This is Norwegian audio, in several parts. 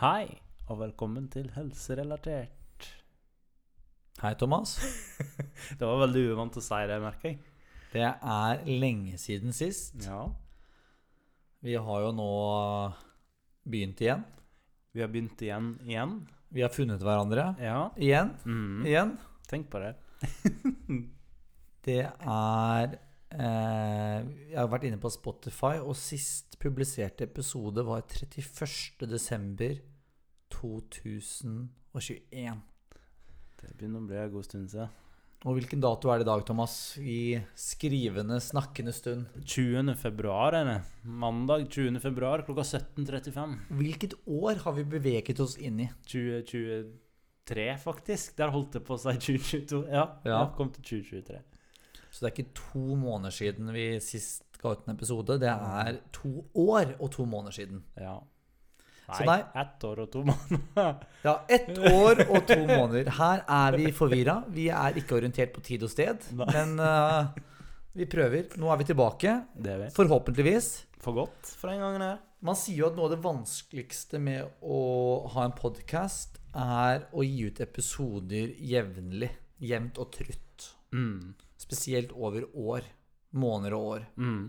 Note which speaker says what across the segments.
Speaker 1: Hei, og velkommen til Helserelatert.
Speaker 2: Hei, Thomas.
Speaker 1: Det var veldig uvant å si det, merker jeg.
Speaker 2: Det er lenge siden sist.
Speaker 1: Ja.
Speaker 2: Vi har jo nå begynt igjen.
Speaker 1: Vi har begynt igjen igjen.
Speaker 2: Vi har funnet hverandre
Speaker 1: Ja.
Speaker 2: igjen.
Speaker 1: Mm.
Speaker 2: Igjen.
Speaker 1: Tenk på det.
Speaker 2: Det er eh, Jeg har vært inne på Spotify, og sist publiserte episode var 31.12.2021.
Speaker 1: Det begynner å bli en god stund siden.
Speaker 2: Og hvilken dato er det i dag, Thomas? I skrivende, snakkende stund.
Speaker 1: 20. februar, er det. Mandag 20. februar klokka 17.35.
Speaker 2: Hvilket år har vi beveget oss inn i?
Speaker 1: 2023, faktisk. Der holdt det på å si 2022. Ja, ja.
Speaker 2: Ja.
Speaker 1: kom til 2023.
Speaker 2: Så det er ikke to måneder siden vi sist ga ut en episode. Det er to år og to måneder siden.
Speaker 1: Ja.
Speaker 2: Så
Speaker 1: nei,
Speaker 2: nei.
Speaker 1: ett år og to måneder.
Speaker 2: Ja, ett år og to måneder. Her er vi forvirra. Vi er ikke orientert på tid og sted,
Speaker 1: Nei.
Speaker 2: men eh, vi prøver. Nå er vi tilbake,
Speaker 1: Det er vi.
Speaker 2: forhåpentligvis.
Speaker 1: For godt for den gangen her.
Speaker 2: Man sier jo at noe av det vanskeligste med å ha en podkast, er å gi ut episoder jevnlig. Jevnt og trutt.
Speaker 1: Mm.
Speaker 2: Spesielt over år. Måneder og år.
Speaker 1: Mm.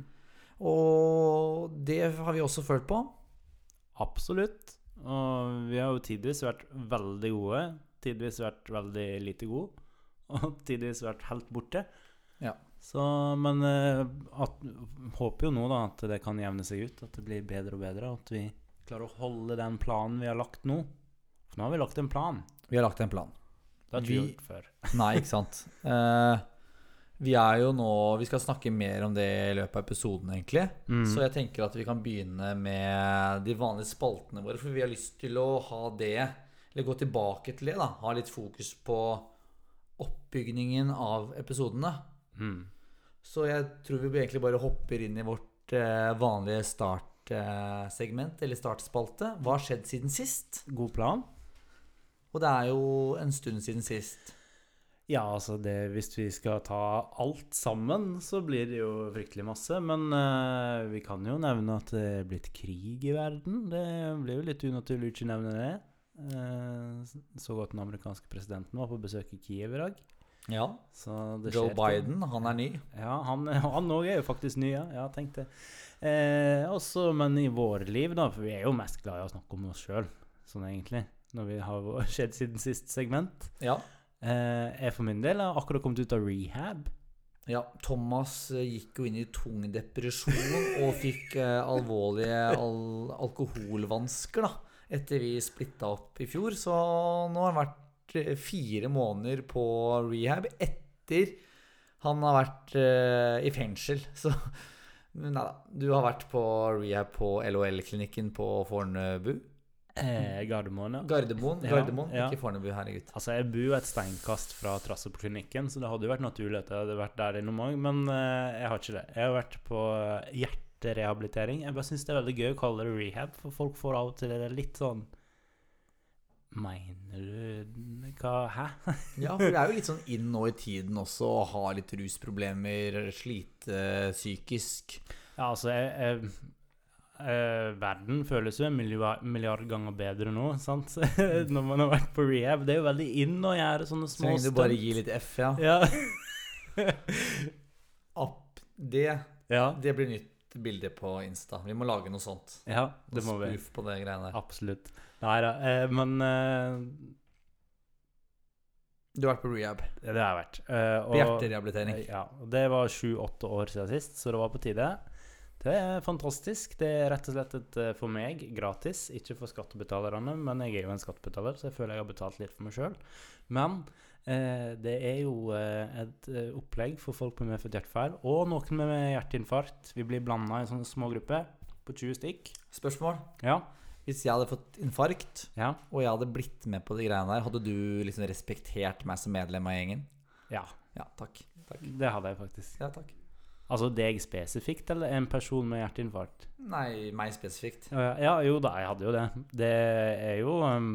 Speaker 2: Og det har vi også følt på.
Speaker 1: Absolutt. Og vi har jo tidvis vært veldig gode, tidvis vært veldig lite gode, og tidvis vært helt borte.
Speaker 2: Ja.
Speaker 1: Så, men eh, at, håper jo nå da at det kan jevne seg ut, at det blir bedre og bedre, og at vi klarer å holde den planen vi har lagt nå. For nå har vi lagt en plan.
Speaker 2: Vi har lagt en plan.
Speaker 1: Det har vi
Speaker 2: Vi-
Speaker 1: gjort før.
Speaker 2: Nei, ikke sant. Eh, vi er jo nå Vi skal snakke mer om det i løpet av episoden, egentlig. Så jeg tenker at vi kan begynne med de vanlige spaltene våre, for vi har lyst til å ha det Eller gå tilbake til det, da. Ha litt fokus på oppbygningen av episodene.
Speaker 1: Mm.
Speaker 2: Så jeg tror vi egentlig bare hopper inn i vårt eh, vanlige startsegment, eller startspalte. Hva har skjedd siden sist?
Speaker 1: God plan.
Speaker 2: Og det er jo en stund siden sist.
Speaker 1: Ja, altså det, hvis vi skal ta alt sammen, så blir det jo fryktelig masse. Men eh, vi kan jo nevne at det er blitt krig i verden. Det blir jo litt unaturlig å ikke nevne det. Eh, s- så godt den amerikanske presidenten var på besøk i Kiev i dag.
Speaker 2: Ja.
Speaker 1: Så det
Speaker 2: Joe
Speaker 1: skjer ting.
Speaker 2: Biden, han er ny.
Speaker 1: Ja, han han òg er jo faktisk ny, ja. ja tenk det. Eh, også, men i våre liv, da, for vi er jo mest glad i å snakke om oss sjøl, sånn egentlig. Når vi har vår- skjedd siden sist segment.
Speaker 2: Ja.
Speaker 1: Eh, jeg for min del har akkurat kommet ut av rehab.
Speaker 2: ja. Thomas eh, gikk jo inn i tung depresjon og fikk eh, alvorlige al alkoholvansker, da. Etter vi splitta opp i fjor. Så nå har han vært eh, fire måneder på rehab etter han har vært eh, i fengsel. Så nei da. Du har vært på rehab på LHL-klinikken på Fornebu.
Speaker 1: Eh, Gardermoen, ja.
Speaker 2: Gardermoen,
Speaker 1: Ja,
Speaker 2: Gardermoen
Speaker 1: ja.
Speaker 2: ikke Fornebu, herregud.
Speaker 1: Altså, jeg bor jo et steinkast fra Trasseklinikken, så det hadde jo vært naturlig at jeg hadde vært der innom òg, men eh, jeg har ikke det. Jeg har vært på eh, hjerterehabilitering. Jeg bare syns det er veldig gøy å kalle det rehab, for folk får av og til det litt sånn Mener du hva Hæ?
Speaker 2: Ja, for det er jo litt sånn inn nå i tiden også å ha litt rusproblemer, slite psykisk.
Speaker 1: Ja, altså jeg, jeg, eh, Verden føles jo en milliard, milliard ganger bedre nå, sant? Når man har vært på rehab. Det er jo veldig in å gjøre sånne
Speaker 2: Så
Speaker 1: små
Speaker 2: lenge du
Speaker 1: stunt.
Speaker 2: bare gir litt F, ja.
Speaker 1: Ja.
Speaker 2: App, det,
Speaker 1: ja.
Speaker 2: det blir nytt bilde på Insta. Vi må lage noe sånt.
Speaker 1: Ja, det må vi.
Speaker 2: Spoof på det greiene der.
Speaker 1: Absolutt. Nei da, eh, men eh,
Speaker 2: Du har vært på rehab.
Speaker 1: det har jeg vært. Eh,
Speaker 2: På hjerterehabilitering.
Speaker 1: Ja, og det var sju-åtte år siden sist, så det var på tide. Det er fantastisk. Det er rett og slett et, eh, for meg gratis, ikke for skattebetalerne, men jeg er jo en skattebetaler, så jeg føler jeg har betalt litt for meg sjøl. Men eh, det er jo eh, et eh, opplegg for folk med medfødt hjertefeil, og noen med hjerteinfarkt. Vi blir blanda i sånne små grupper på 20 stykk.
Speaker 2: Spørsmål?
Speaker 1: Ja.
Speaker 2: Hvis jeg hadde fått infarkt,
Speaker 1: ja.
Speaker 2: og jeg hadde blitt med på de greiene der, hadde du liksom respektert meg som medlem av gjengen?
Speaker 1: Ja.
Speaker 2: Ja, takk. takk.
Speaker 1: Det hadde jeg faktisk.
Speaker 2: Ja, takk.
Speaker 1: Altså deg spesifikt, eller en person med hjerteinfarkt?
Speaker 2: Nei, meg spesifikt.
Speaker 1: Ja, ja, jo da, jeg hadde jo det. Det er jo um,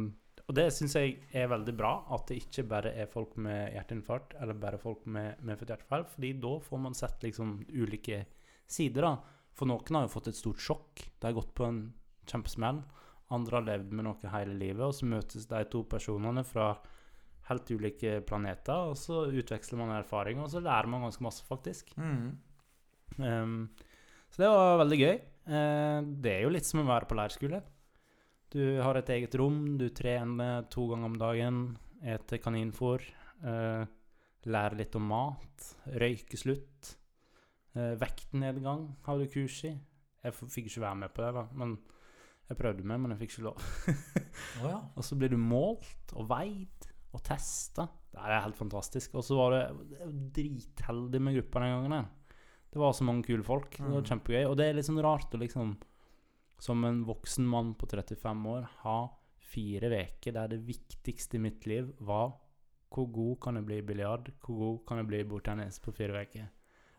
Speaker 1: Og det syns jeg er veldig bra, at det ikke bare er folk med hjerteinfarkt, eller bare folk med medfødt hjertefeil, fordi da får man sett liksom ulike sider, da. For noen har jo fått et stort sjokk. De har gått på en kjempesmell. Andre har levd med noe hele livet, og så møtes de to personene fra helt ulike planeter, og så utveksler man erfaringer, og så lærer man ganske masse, faktisk.
Speaker 2: Mm.
Speaker 1: Ehm, så det var veldig gøy. Eh, det er jo litt som å være på leirskole. Du har et eget rom, du trener to ganger om dagen, eter kaninfôr, eh, lærer litt om mat, røykeslutt, eh, vektnedgang har du kurs i. Jeg f- fikk ikke være med på det, da, men jeg prøvde med, men jeg fikk ikke lov.
Speaker 2: Å ja.
Speaker 1: Og så blir du målt og veid og testa. Det er helt fantastisk. Og så var det jeg var dritheldig med gruppa den gangen. her. Det var så mange kule folk. Det var
Speaker 2: Mm.
Speaker 1: kjempegøy. Og det er litt sånn rart å liksom, som en voksen mann på 35 år, ha fire uker der det viktigste i mitt liv var hvor god kan jeg bli i biljard, hvor god kan jeg bli i bordtennis på fire uker.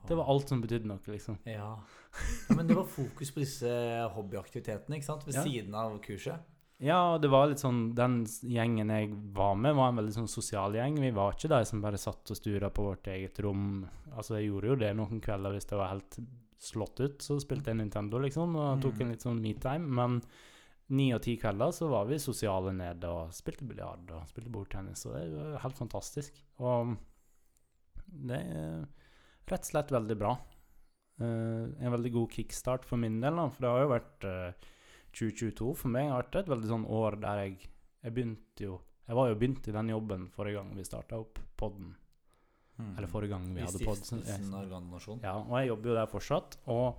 Speaker 1: Det var alt som betydde noe, liksom.
Speaker 2: Ja. ja. Men det var fokus på disse hobbyaktivitetene, ikke sant? Ved
Speaker 1: Ja.
Speaker 2: siden av kurset.
Speaker 1: Ja, og det var litt sånn Den s- gjengen jeg var med, var en veldig sånn sosial gjeng. Vi var ikke de som bare satt og stura på vårt eget rom. Altså, jeg gjorde jo det noen kvelder hvis det var helt slått ut. Så spilte jeg Nintendo, liksom, og tok en litt sånn me-time. Men ni av ti kvelder så var vi sosiale nede og spilte biljard og spilte bordtennis, og det var helt fantastisk. Og det er rett og slett veldig bra. Eh, en veldig god kickstart for min del, da, for det har jo vært eh, 2022 for meg har vært et veldig sånn år der jeg Jeg begynte jo Jeg var jo begynt i den jobben forrige gang vi starta opp podden. Eller forrige gang vi
Speaker 2: Mm. I
Speaker 1: hadde pod. så-
Speaker 2: stiftelsen Organdonasjon.
Speaker 1: Ja, og jeg jobber jo der fortsatt. Og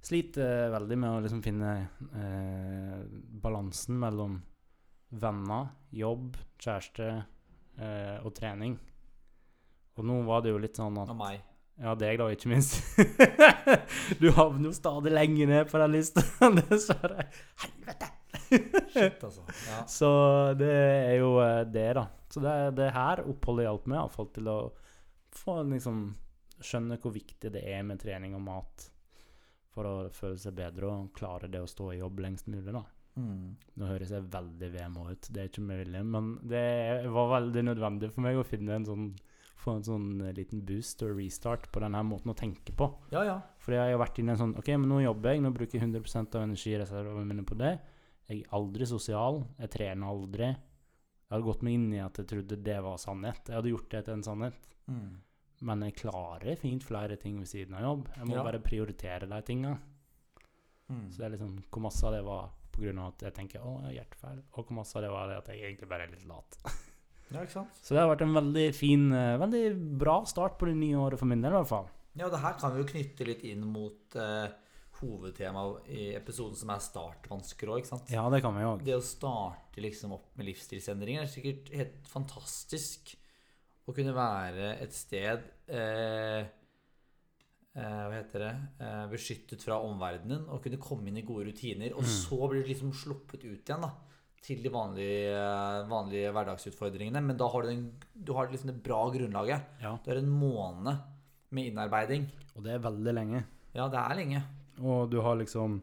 Speaker 1: sliter veldig med å liksom finne eh, balansen mellom venner, jobb, kjæreste eh, og trening. Og nå var det jo litt sånn at
Speaker 2: Av meg.
Speaker 1: ja, deg da, ikke minst. du havner jo stadig lenger ned på den lista, dessverre. Helvete!
Speaker 2: Shit, altså. Ja.
Speaker 1: Så det er jo eh, det, da. Så det, det her oppholdet hjalp meg iallfall til å få liksom skjønne hvor viktig det er med trening og mat for å føle seg bedre og klare det å stå i jobb lengst mulig, da. Nå høres jeg veldig VMH ut, det er ikke med vilje, men det var veldig nødvendig for meg å finne en sånn få en sånn liten boost og restart på denne måten å tenke på.
Speaker 2: Ja, ja.
Speaker 1: Fordi jeg har vært inne i en sånn Ok, men nå jobber jeg, nå bruker jeg 100 av energireservene mine på det. Jeg er aldri sosial. Jeg trener aldri. Jeg hadde gått meg inn i at jeg trodde det var sannhet. Jeg hadde gjort det til en sannhet.
Speaker 2: Mm.
Speaker 1: Men jeg klarer fint flere ting ved siden av jobb. Jeg må
Speaker 2: Ja.
Speaker 1: bare prioritere de tinga.
Speaker 2: Mm.
Speaker 1: Så det er liksom hvor masse av det var på grunn av at jeg tenker å, jeg har hjertefeil, og hvor masse av det var det at jeg egentlig bare er litt lat.
Speaker 2: Ja, ikke sant?
Speaker 1: Så det har vært en veldig fin, eh, veldig bra start på det nye året for min del, i hvert fall.
Speaker 2: Ja, det her kan vi jo knytte litt inn mot eh, hovedtemaet i episoden som er startvansker òg, ikke sant?
Speaker 1: Ja, det kan vi òg.
Speaker 2: Det å starte liksom opp med livsstilsendringer er sikkert helt fantastisk å kunne være et sted eh, eh, Hva heter det? Eh, beskyttet fra omverdenen og kunne komme inn i gode rutiner. Og så blir du liksom sluppet ut igjen da, til de vanlige, vanlige hverdagsutfordringene. Men da har du, den, du har liksom det bra grunnlaget.
Speaker 1: Ja.
Speaker 2: Du har en måned med innarbeiding.
Speaker 1: Og det er veldig lenge.
Speaker 2: Ja, det er lenge.
Speaker 1: Og du har liksom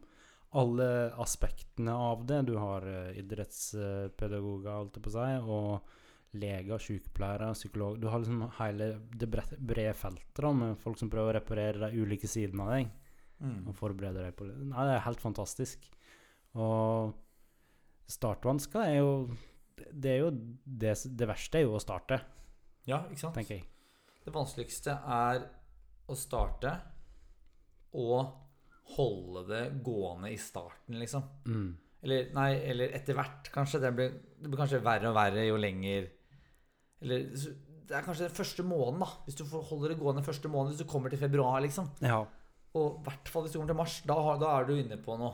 Speaker 1: alle aspektene av det. Du har eh, idrettspedagoger, holdt jeg på å si, og leger, sykepleiere, psykolog Du har liksom hele det bre- brede feltet da, med folk som prøver å reparere de ulike sidene av deg. Og forberede deg på det. Nei, det er helt fantastisk. Og startvansker er jo Det er jo det, s- det verste er jo å starte,
Speaker 2: Ja, ikke sant?
Speaker 1: tenker jeg.
Speaker 2: Det vanskeligste er å starte og holde det gående i starten, liksom.
Speaker 1: Mm.
Speaker 2: Eller, nei, eller etter hvert, kanskje. Det blir, det blir kanskje verre og verre jo lenger Eller så- det er kanskje den første måneden, da. Hvis du får- holder det gående første måneden, hvis du kommer til februar, liksom.
Speaker 1: Ja.
Speaker 2: Og i hvert fall hvis du kommer til mars. Da, har- da er du inne på noe.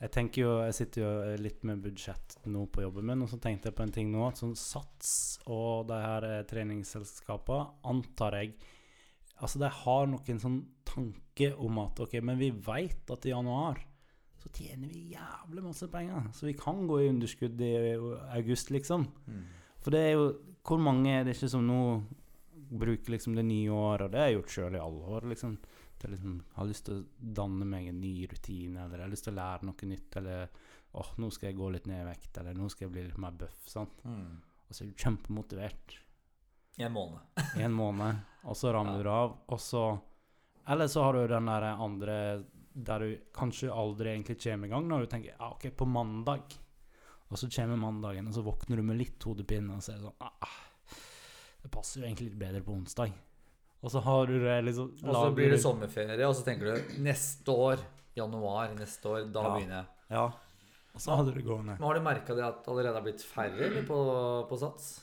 Speaker 1: Jeg tenker jo, jeg sitter jo eh, litt med budsjett nå på jobben min, og så tenkte jeg på en ting nå. at sånn Sats og de her eh, treningsselskapene antar jeg Altså, de har noen sånn tanke om at OK, men vi veit at i januar så tjener vi jævlig masse penger, så vi kan gå i underskudd i eh, august, liksom.
Speaker 2: Hmm.
Speaker 1: For det er jo Hvor mange er det ikke som nå bruker liksom det nye året, og det har jeg gjort sjøl i alle år, liksom. Til liksom jeg har lyst til å danne meg en ny rutine, eller jeg har lyst til å lære noe nytt, eller åh, nå skal jeg gå litt ned i vekt, eller nå skal jeg bli litt mer bøff, sant. Og så er du kjempemotivert
Speaker 2: I en måned.
Speaker 1: i en måned, og så ramler du av, og så Eller så har du den der andre der du kanskje aldri egentlig kommer i gang, når du tenker ja, OK, på mandag Og så kommer mandagen, og så våkner du med litt hodepine, og så er det sånn ah, Det passer jo egentlig litt bedre på onsdag. Og så har du det liksom
Speaker 2: Og så
Speaker 1: lager du-
Speaker 2: blir det sånn. sommerferie, og så tenker du neste år, januar neste år, da
Speaker 1: Ja.
Speaker 2: begynner jeg.
Speaker 1: Ja. Og så hadde du det gående.
Speaker 2: Men har du merka det at det allerede har blitt færre eller, på, på Sats?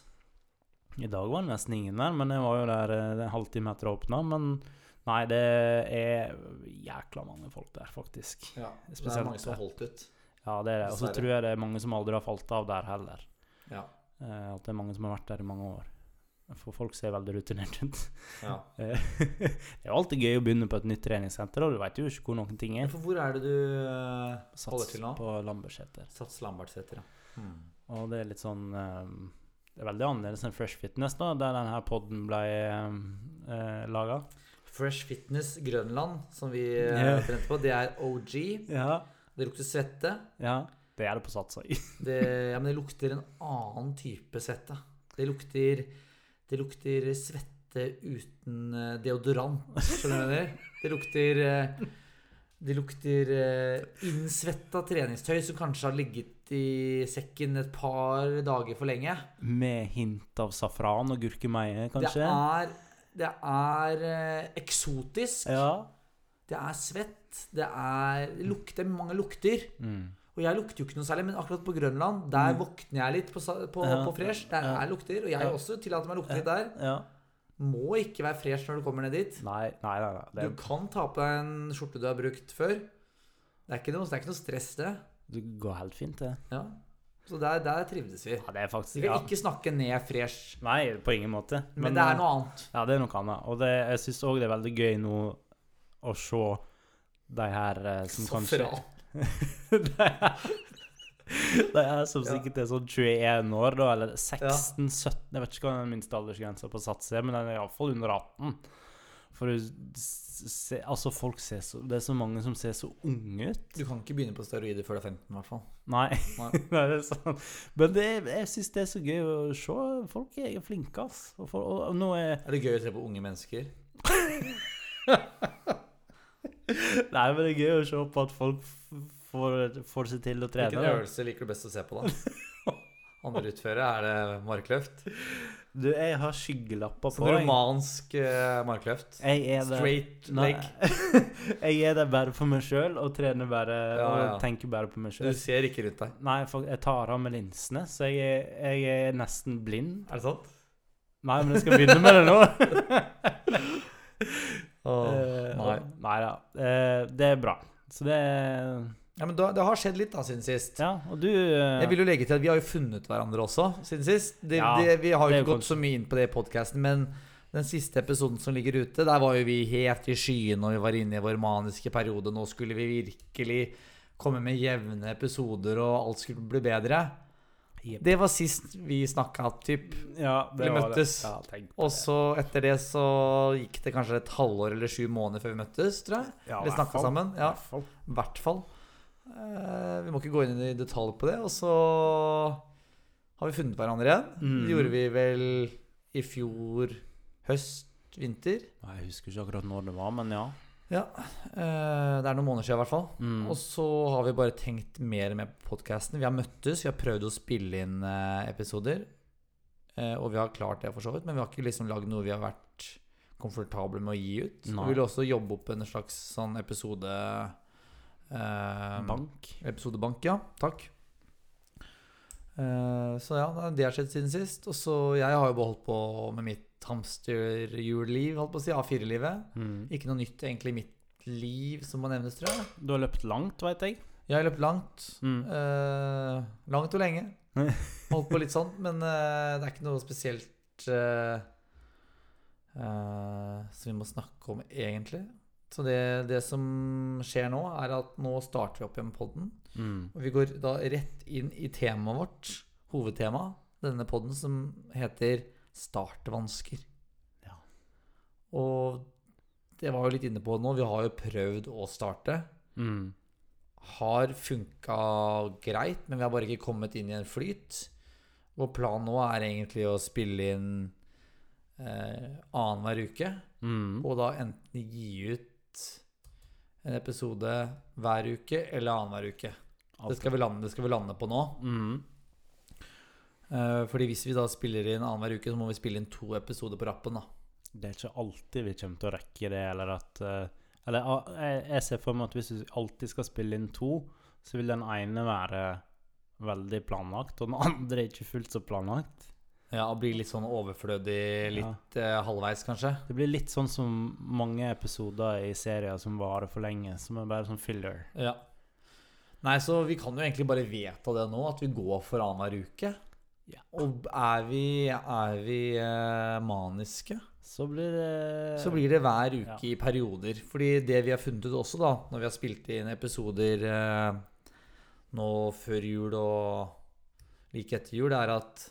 Speaker 1: I dag var det nesten ingen der, men jeg var jo der eh, en halvtime etter å åpna. Men nei, det er jækla mange folk der, faktisk.
Speaker 2: Ja, det
Speaker 1: Spesielt-
Speaker 2: er mange som har holdt ut.
Speaker 1: Ja, det er det. Og så
Speaker 2: Dessverre.
Speaker 1: tror jeg det er mange som aldri har falt av der heller.
Speaker 2: Ja.
Speaker 1: Eh, At det er mange som har vært der i mange år. For folk ser veldig rutinert ut.
Speaker 2: ja.
Speaker 1: Eh, det er jo alltid gøy å begynne på et nytt treningssenter, og du veit jo ikke hvor noen ting
Speaker 2: Ja,
Speaker 1: er.
Speaker 2: For hvor er det du eh, holder
Speaker 1: Sats
Speaker 2: til nå?
Speaker 1: på Lambertseter.
Speaker 2: Sats Lambertseter, ja. Hmm.
Speaker 1: Og det er litt sånn eh, Det er veldig annerledes enn Fresh Fitness, da, der denne poden ble um, laga.
Speaker 2: Fresh Fitness Grønland, som vi
Speaker 1: Ja.
Speaker 2: eh, trente på, det er OG.
Speaker 1: Ja.
Speaker 2: Det lukter svette.
Speaker 1: ja. Det er det på Sats òg.
Speaker 2: Det, ja, men det lukter en annen type svette. Det lukter, det lukter svette uten eh, deodorant, skjønner du hva jeg mener? Det lukter eh, det lukter eh, innsvetta treningstøy som kanskje har ligget i sekken et par dager for lenge.
Speaker 1: Med hint av safran og gurkemeie, kanskje?
Speaker 2: Det er, det er eh, eksotisk.
Speaker 1: Ja.
Speaker 2: Det er svett. Det er det lukter mange lukter.
Speaker 1: Mm.
Speaker 2: Og jeg lukter jo ikke noe særlig, men akkurat på Grønland, der våkner jeg litt på, sa- på,
Speaker 1: Ja.
Speaker 2: på fresh. Der
Speaker 1: Ja.
Speaker 2: er lukter, og jeg
Speaker 1: Ja.
Speaker 2: også tillater meg å lukte litt der.
Speaker 1: ja.
Speaker 2: Må ikke være fresh når du kommer ned dit.
Speaker 1: Nei, nei, nei. nei.
Speaker 2: Du
Speaker 1: Det,
Speaker 2: kan ta på deg en skjorte du har brukt før. Det er ikke noe, det er ikke noe stress, det.
Speaker 1: det går helt fint, det.
Speaker 2: Ja. Så der, der trivdes vi.
Speaker 1: Ja, det er
Speaker 2: Vi
Speaker 1: faktisk
Speaker 2: kan
Speaker 1: ja. eh,
Speaker 2: ikke snakke ned fresh,
Speaker 1: Nei, på ingen måte.
Speaker 2: men, det er noe annet.
Speaker 1: Ja, det er noe annet. Og det, jeg syns òg det er veldig gøy nå å se de her eh, som kanskje
Speaker 2: Safran.
Speaker 1: de her, de her som
Speaker 2: Ja.
Speaker 1: sikkert er sånn 21 år, da, eller 16-17 Jeg vet ikke hva den minste aldersgrensa på Sats er, men den er iallfall under 18. For du s- se, altså folk ser så, Det er så mange som ser så unge ut.
Speaker 2: Du kan ikke begynne på steroider før du er 15, i hvert fall.
Speaker 1: Nei.
Speaker 2: Nei.
Speaker 1: Nei, det er sant. Men det, er- jeg syns det er så gøy å se. Folk er flinke, ass. Og, for, og, og nå er
Speaker 2: Er det gøy å se på unge mennesker?
Speaker 1: Nei, men det er gøy å se på at folk f- får, får seg til å trene.
Speaker 2: Hvilken
Speaker 1: da.
Speaker 2: øvelse liker du best å se på, da? Andre utføre, er det markløft?
Speaker 1: Du, jeg har skyggelapper
Speaker 2: Sånn
Speaker 1: på. Jeg,
Speaker 2: romansk eh, markløft?
Speaker 1: jeg er der
Speaker 2: Straight
Speaker 1: Nei.
Speaker 2: leg?
Speaker 1: jeg er der bare for meg sjøl, og trener bare
Speaker 2: Ja, ja.
Speaker 1: og tenker bare på meg
Speaker 2: Du
Speaker 1: sjøl.
Speaker 2: ser ikke rundt deg.
Speaker 1: Nei, for jeg tar av meg linsene, så jeg er, jeg er nesten blind.
Speaker 2: Er det sant?
Speaker 1: Nei, men jeg skal begynne med det nå. Eh,
Speaker 2: nei.
Speaker 1: og- nei da. Eh, Det er bra. Så det er
Speaker 2: Ja, men da, det har skjedd litt da siden sist.
Speaker 1: Ja, og du eh,
Speaker 2: Jeg vil jo legge til at Vi har jo funnet hverandre også siden sist. Det,
Speaker 1: Ja,
Speaker 2: det, vi har
Speaker 1: det
Speaker 2: jo
Speaker 1: er
Speaker 2: ikke
Speaker 1: jo
Speaker 2: gått så mye inn på det i podkasten, men den siste episoden som ligger ute, der var jo vi helt i skyene, og vi var inne i vår maniske periode. Nå skulle vi virkelig komme med jevne episoder, og alt skulle bli bedre.
Speaker 1: Jepp.
Speaker 2: Det var sist vi snakka, typ.
Speaker 1: Ja, det
Speaker 2: vi
Speaker 1: var det.
Speaker 2: møttes.
Speaker 1: Ja, tenk på
Speaker 2: Og
Speaker 1: det.
Speaker 2: så etter det så gikk det kanskje et halvår eller sju måneder før vi møttes, tror jeg.
Speaker 1: Ja, i
Speaker 2: Eller
Speaker 1: hvert
Speaker 2: snakka
Speaker 1: fall.
Speaker 2: sammen. Ja.
Speaker 1: I hvert fall.
Speaker 2: I hvert fall. Eh, vi må ikke gå inn i detalj på det. Og så har vi funnet hverandre igjen.
Speaker 1: Mm.
Speaker 2: Det gjorde vi vel i fjor høst, vinter.
Speaker 1: Nei, Jeg husker ikke akkurat når det var, men ja.
Speaker 2: Ja. eh, det er noen måneder siden, i hvert fall.
Speaker 1: Mm.
Speaker 2: Og så har vi bare tenkt mer med på podkasten. Vi har møttes, vi har prøvd å spille inn eh, episoder. eh, og vi har klart det, for så vidt, men vi har ikke liksom lagd noe vi har vært komfortable med å gi ut.
Speaker 1: Nei.
Speaker 2: Vi vil også jobbe opp en slags sånn episode
Speaker 1: Um,
Speaker 2: eh,
Speaker 1: Bank.
Speaker 2: Episodebank, ja. Takk. Eh, så ja, nei, det har skjedd siden sist. Og så jeg har jo beholdt på med mitt hamsterhjulliv, holdt på å si. A4-livet. Ikke noe nytt egentlig i mitt liv som må nevnes, tror jeg.
Speaker 1: Du har løpt langt, veit jeg.
Speaker 2: Jeg har løpt langt.
Speaker 1: Mm,
Speaker 2: eh, langt og lenge. Holdt på litt sånn, men eh, det er ikke noe spesielt eh, eh, som vi må snakke om, egentlig. Så det, det som skjer nå, er at nå starter vi opp igjen podden.
Speaker 1: Mm.
Speaker 2: Og vi går da rett inn i temaet vårt, hovedtema, denne podden som heter startvansker.
Speaker 1: Ja.
Speaker 2: Og det var jo litt inne på nå, vi har jo prøvd å starte.
Speaker 1: Mm.
Speaker 2: Har funka greit, men vi har bare ikke kommet inn i en flyt. Vår plan nå er egentlig å spille inn eh, annenhver uke.
Speaker 1: Mm.
Speaker 2: Og da enten gi ut en episode hver uke eller annenhver uke. Det skal, vi lande, det skal vi lande på nå.
Speaker 1: Mm.
Speaker 2: Eh, Fordi hvis vi da spiller inn annenhver uke, så må vi spille inn to episoder på rappen. da.
Speaker 1: Det er ikke alltid vi kommer til å rekke det, eller at eh, Eller ah, jeg, jeg ser for meg at hvis vi alltid skal spille inn to, så vil den ene være veldig planlagt, og den andre ikke fullt så planlagt.
Speaker 2: Ja, og Blir litt sånn overflødig, litt eh, halvveis kanskje.
Speaker 1: Det blir litt sånn som mange episoder i serier som varer for lenge, som er bare sånn filler.
Speaker 2: Ja. Nei, så vi kan jo egentlig bare vedta det nå, at vi går for annenhver uke.
Speaker 1: Ja.
Speaker 2: Og er vi, er vi eh, maniske,
Speaker 1: Så blir det
Speaker 2: så blir det hver uke i perioder. Fordi det vi har funnet ut også, da, når vi har spilt inn episoder eh, nå før jul og like etter jul, er at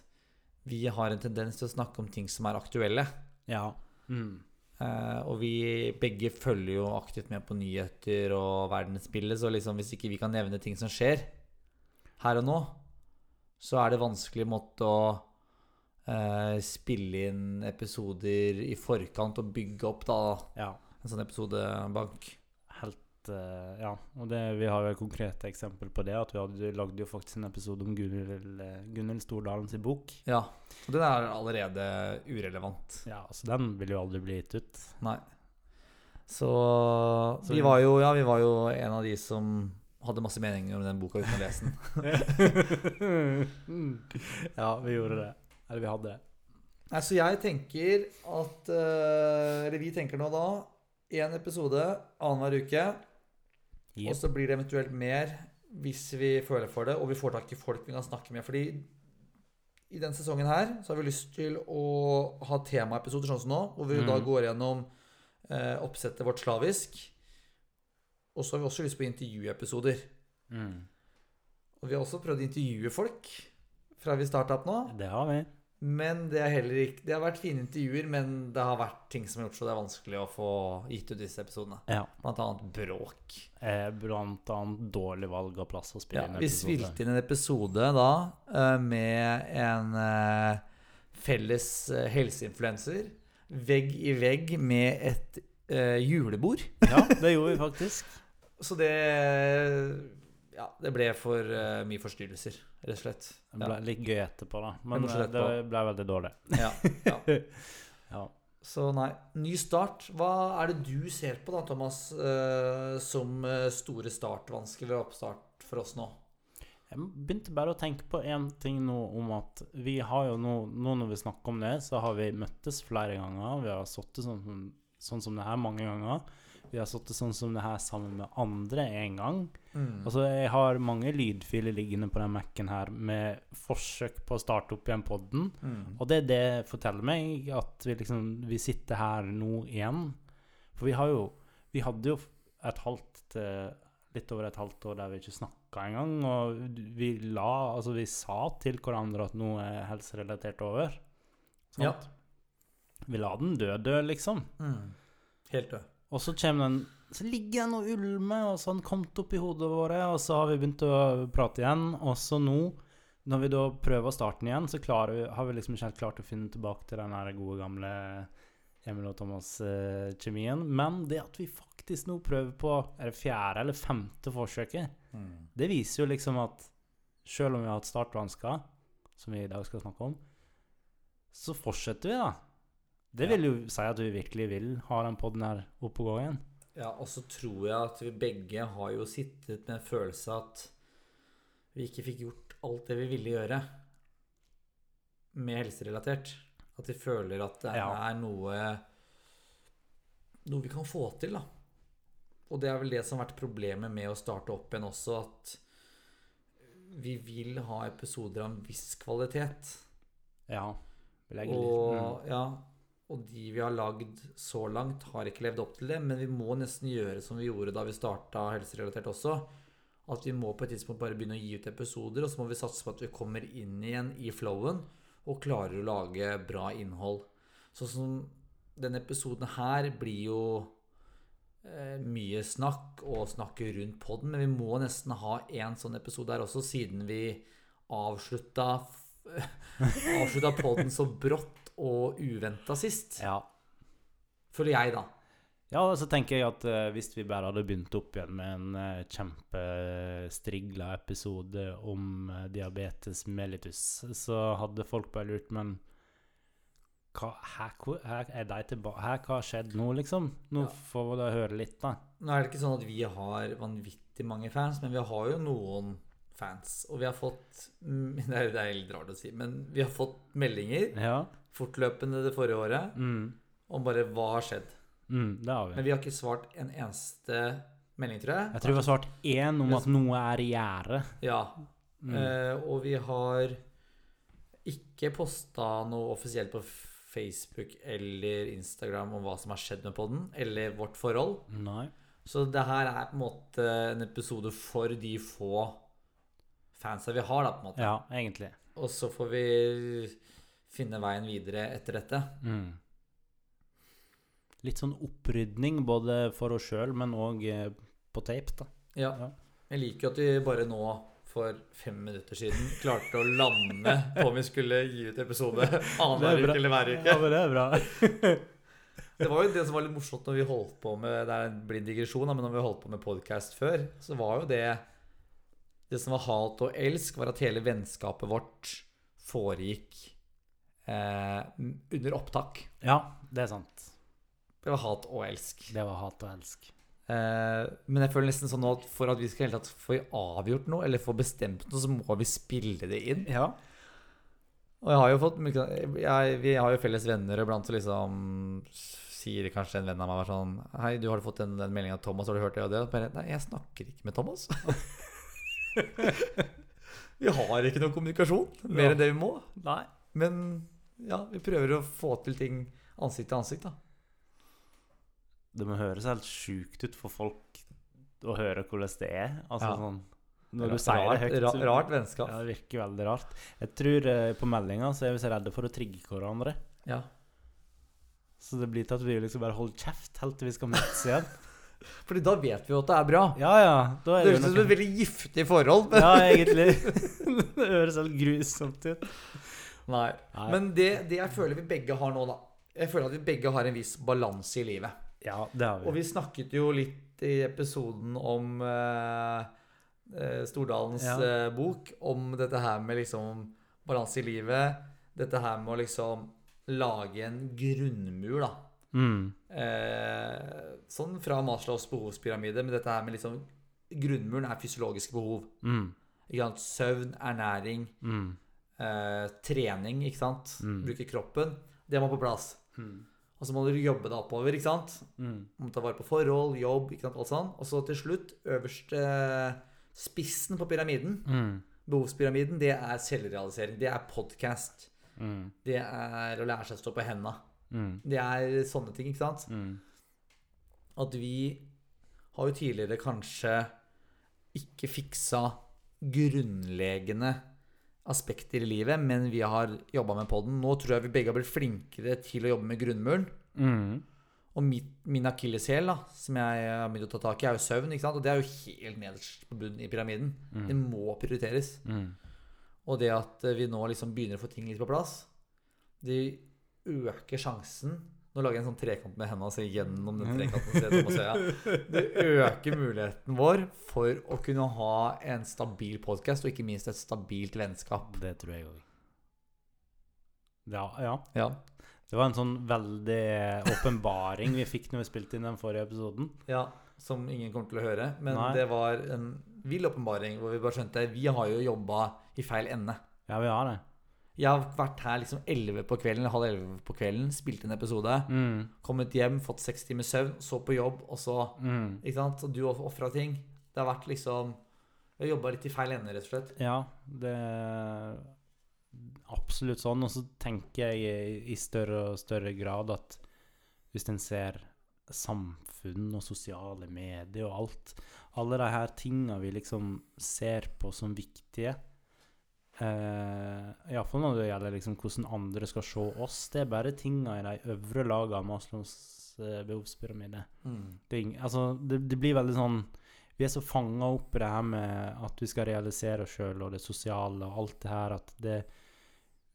Speaker 2: vi har en tendens til å snakke om ting som er aktuelle.
Speaker 1: Ja. Mm.
Speaker 2: Eh, og vi begge følger jo aktivt med på nyheter og verdensbildet, så liksom hvis ikke vi kan nevne ting som skjer her og nå, så er det vanskelig måte å eh, spille inn episoder i forkant og bygge opp da
Speaker 1: ja.
Speaker 2: en sånn episodebank.
Speaker 1: helt eh, Ja, og det, vi har jo et konkret eksempel på det. At vi hadde, lagde jo faktisk en episode om Gunhild eh, Gunhild Stordalen sin bok.
Speaker 2: Ja, og den er allerede urelevant.
Speaker 1: Ja, Så den vil jo aldri bli gitt ut.
Speaker 2: Nei. Så,
Speaker 1: Så
Speaker 2: vi,
Speaker 1: vi-
Speaker 2: var jo, ja, vi var jo en av de som hadde masse meninger om den boka uten å lese den.
Speaker 1: Mm. ja, vi gjorde det. Eller vi hadde det.
Speaker 2: Nei, så jeg tenker at eh, Eller vi tenker nå da én episode annenhver uke. Og så blir det eventuelt mer hvis vi føler for det, og vi får tak i folk vi kan snakke med. Fordi i denne sesongen her så har vi lyst til å ha temaepisoder sånn som nå, hvor vi jo da
Speaker 1: Mm.
Speaker 2: går gjennom eh, oppsettet vårt slavisk. Og så har vi også lyst på intervjuepisoder.
Speaker 1: Mm.
Speaker 2: Og vi har også prøvd å intervjue folk fra vi starta opp nå.
Speaker 1: Det har vi.
Speaker 2: Men det er heller ikke Det har vært fine intervjuer, men det har vært ting som har gjort så det er vanskelig å få gitt ut disse episodene.
Speaker 1: Ja.
Speaker 2: Blant annet bråk.
Speaker 1: Eh, blant annet dårlig valg av plass å spille
Speaker 2: Ja,
Speaker 1: inn
Speaker 2: vi
Speaker 1: episode.
Speaker 2: spilte inn en episode da eh, med en eh, felles eh, helseinfluenser vegg i vegg med et eh, julebord.
Speaker 1: Ja, det gjorde vi faktisk.
Speaker 2: Så det Ja, det ble for eh, mye forstyrrelser, rett og slett.
Speaker 1: Det ble
Speaker 2: Ja,
Speaker 1: litt gøy etterpå, da. Men
Speaker 2: Det ble så
Speaker 1: eh, det
Speaker 2: etterpå.
Speaker 1: ble veldig dårlig.
Speaker 2: ja, ja.
Speaker 1: Ja.
Speaker 2: Så nei, ny start. Hva er det du ser på da, Thomas, eh, som eh, store startvansker ved oppstart for oss nå?
Speaker 1: Jeg begynte bare å tenke på én ting nå om at vi har jo nå, nå når vi snakker om det, så har vi møttes flere ganger. Vi har sittet sånn, som- sånn som det her mange ganger. Vi har sittet sånn som det her sammen med andre en gang.
Speaker 2: Mm.
Speaker 1: Altså, jeg har mange lydfiler liggende på den Mac-en her med forsøk på å starte opp igjen podden.
Speaker 2: Mm.
Speaker 1: Og det er det forteller meg at vi liksom Vi sitter her nå igjen. For vi har jo Vi hadde jo et halvt eh, Litt over et halvt år der vi ikke snakka engang. Og vi la Altså, vi sa til hverandre at noe er helserelatert over. Sant?
Speaker 2: Ja.
Speaker 1: Vi la den døde, liksom.
Speaker 2: Mm. Helt død.
Speaker 1: Og så kommer den Så ligger den og ulmer, og så har den kommet opp i hodet våre, og så har vi begynt å prate igjen. Og så nå, når vi da prøver å starte den igjen, så klarer vi, har vi liksom ikke helt klart å finne tilbake til den her gode gamle Emil og Thomas-kjemien. Men det at vi faktisk nå prøver på er det fjerde eller femte forsøket, det viser jo liksom at selv om vi har hatt startvansker, som vi i dag skal snakke om, så fortsetter vi, da. Det vil jo si at vi virkelig vil ha den podden her oppe og gå igjen.
Speaker 2: Ja, og så tror jeg at vi begge har jo sittet med en følelse at vi ikke fikk gjort alt det vi ville gjøre med helserelatert. At vi føler at det
Speaker 1: Ja.
Speaker 2: er noe noe vi kan få til, da. Og det er vel det som har vært problemet med å starte opp igjen også, at vi vil ha episoder av en viss kvalitet.
Speaker 1: Ja. Vi legger mm. litt.
Speaker 2: Og, ja, og de vi har lagd så langt, har ikke levd opp til det. Men vi må nesten gjøre som vi gjorde da vi starta helserelatert også. At vi må på et tidspunkt bare begynne å gi ut episoder, og så må vi satse på at vi kommer inn igjen i flowen og klarer å lage bra innhold. Sånn som denne episoden her blir jo eh, mye snakk og snakke rundt podden, men vi må nesten ha en sånn episode her også, siden vi avslutta avslutta podden så brått og uventa sist.
Speaker 1: Mm. Ja.
Speaker 2: Føler jeg, da.
Speaker 1: Ja, så tenker jeg at eh, hvis vi bare hadde begynt opp igjen med en eh, kjempestrigla episode om eh, diabetes mellitus, så hadde folk bare lurt Men hva, her, hvor- her er de tilbake? Her, hva har skjedd nå, liksom? Nå
Speaker 2: Ja.
Speaker 1: får vi da høre litt, da.
Speaker 2: Nå er det ikke sånn at vi har vanvittig mange fans, men vi har jo noen fans. Og vi har fått mm, Det er, det er litt rart å si, men vi har fått meldinger
Speaker 1: Ja.
Speaker 2: fortløpende det forrige året
Speaker 1: Mm,
Speaker 2: om bare hva har skjedd.
Speaker 1: mm, det har vi.
Speaker 2: Men vi har ikke svart en eneste melding, tror jeg.
Speaker 1: Jeg tror vi har svart én om at noe er i gjære.
Speaker 2: Ja.
Speaker 1: Mm.
Speaker 2: Eh, og vi har ikke posta noe offisielt på Facebook eller Instagram om hva som har skjedd med podden, eller vårt forhold.
Speaker 1: Nei.
Speaker 2: Så det her er på en måte en episode for de få fansa vi har, da, på en måte.
Speaker 1: Ja, egentlig.
Speaker 2: Og så får vi finne veien videre etter dette.
Speaker 1: Mm. Litt sånn opprydning både for oss sjøl, men òg på tape, da.
Speaker 2: Ja.
Speaker 1: Ja.
Speaker 2: Jeg liker jo at vi bare nå, for fem minutter siden, klarte å lande på om vi skulle gi ut episode annenhver
Speaker 1: Det er bra.
Speaker 2: uke eller hver uke.
Speaker 1: Ja, men det er bra.
Speaker 2: Det var jo det som var litt morsomt når vi holdt på med Det er en blind digresjon, da, men når vi holdt på med podkast før, så var jo det Det som var hat og elsk, var at hele vennskapet vårt foregikk eh, under opptak.
Speaker 1: Ja, det er sant.
Speaker 2: Det var hat og elsk.
Speaker 1: Det var hat og elsk.
Speaker 2: Eh, men jeg føler nesten sånn nå at for at vi skal i hele tatt få avgjort noe, eller få bestemt noe, så må vi spille det inn.
Speaker 1: Ja.
Speaker 2: Og jeg har jo fått mye- jeg, Vi har jo felles venner iblant, så liksom sier kanskje en venn av meg bare sånn Hei, du har fått den, den meldinga av Thomas, har du hørt det og det? Og bare, Nei, jeg snakker ikke med Thomas. vi har ikke noe kommunikasjon mer
Speaker 1: Ja.
Speaker 2: enn det vi må.
Speaker 1: Nei.
Speaker 2: Men ja, vi prøver å få til ting ansikt til ansikt, da.
Speaker 1: Det må høres helt sjukt ut for folk å høre hvordan det er. Altså
Speaker 2: Ja.
Speaker 1: sånn Når du
Speaker 2: Ra-
Speaker 1: sier det høyt.
Speaker 2: Rart,
Speaker 1: så-
Speaker 2: ra, rart vennskap.
Speaker 1: Ja, det virker veldig rart. Jeg tror eh, på meldinga så er vi så redde for å trigge hverandre.
Speaker 2: Ja.
Speaker 1: Så det blir til at vi liksom bare holder kjeft helt til vi skal møtes igjen.
Speaker 2: Fordi da vet vi jo at det er bra.
Speaker 1: Ja, ja. Da er det
Speaker 2: Det høres
Speaker 1: jo
Speaker 2: ut som
Speaker 1: noe
Speaker 2: et veldig giftig forhold. Men,
Speaker 1: Ja, egentlig. Det høres helt grusomt ut.
Speaker 2: Nei.
Speaker 1: Nei.
Speaker 2: men det, det jeg føler vi begge har nå, da Jeg føler at vi begge har en viss balanse i livet.
Speaker 1: Ja, det har
Speaker 2: Og
Speaker 1: vi.
Speaker 2: vi snakket jo litt i episoden om eh, eh, Stordalens
Speaker 1: Ja.
Speaker 2: eh, bok, om dette her med liksom balanse i livet. Dette her med å liksom lage en grunnmur, da.
Speaker 1: Mm.
Speaker 2: Eh, sånn fra Maslows behovspyramide, men dette her med liksom Grunnmuren er fysiologiske behov.
Speaker 1: Mm.
Speaker 2: Ikke sant? Søvn, ernæring,
Speaker 1: Mm.
Speaker 2: eh, trening, ikke sant.
Speaker 1: Mm.
Speaker 2: Bruke kroppen. Det må på plass.
Speaker 1: Mm.
Speaker 2: Og så må du jobbe deg oppover, ikke sant.
Speaker 1: Mm.
Speaker 2: Om å ta vare på forhold, jobb, ikke sant, alt sånn. Og så til slutt, øverste spissen på pyramiden,
Speaker 1: Mm.
Speaker 2: behovspyramiden, det er selvrealisering. Det er podkast.
Speaker 1: Mm.
Speaker 2: Det er å lære seg å stå på henda.
Speaker 1: Mm.
Speaker 2: Det er sånne ting, ikke sant.
Speaker 1: Mm.
Speaker 2: At vi har jo tidligere kanskje ikke fiksa grunnleggende aspekter i livet, men vi har jobba med podden. Nå tror jeg vi begge har blitt flinkere til å jobbe med grunnmuren.
Speaker 1: Mm.
Speaker 2: Og mitt, min akilleshæl, da, som jeg har begynt å ta tak i, er jo søvn. ikke sant? Og det er jo helt nederst på bunnen i pyramiden. Det må prioriteres.
Speaker 1: Mm.
Speaker 2: Og det at eh, vi nå liksom begynner å få ting litt på plass, det øker sjansen Nå lager jeg en sånn trekant med hendene, altså gjennom den trekanten. ser jeg Thomas Øya. Det øker muligheten vår for å kunne ha en stabil podkast, og ikke minst et stabilt vennskap.
Speaker 1: Det tror jeg òg. Ja, ja.
Speaker 2: Ja.
Speaker 1: Det var en sånn veldig åpenbaring vi fikk når vi spilte inn den forrige episoden.
Speaker 2: ja som ingen kommer til å høre. Men
Speaker 1: Nei.
Speaker 2: det var en vill åpenbaring hvor vi bare skjønte vi har jo jobba i feil ende.
Speaker 1: Ja, vi har det.
Speaker 2: Jeg har vært her liksom 11 på kvelden, eller halv 11 på kvelden, spilt en episode,
Speaker 1: Mm.
Speaker 2: kommet hjem, fått seks timer søvn, så på jobb, og så
Speaker 1: Mm.
Speaker 2: Ikke sant? Og du har ofra ting. Det har vært liksom Jeg har jobba litt i feil ende, rett og slett.
Speaker 1: Ja, det er absolutt sånn. Og så tenker jeg i større og større grad at hvis en ser samfunn og sosiale medier og alt Alle de her tinga vi liksom ser på som viktige eh, Iallfall når det gjelder liksom hvordan andre skal se oss. Det er bare tinga i de øvre laga av Maslows eh, behovspyramide det, er ing- altså, det, det blir veldig sånn Vi er så fanga opp i det her med at vi skal realisere oss sjøl og det sosiale og alt det her, at det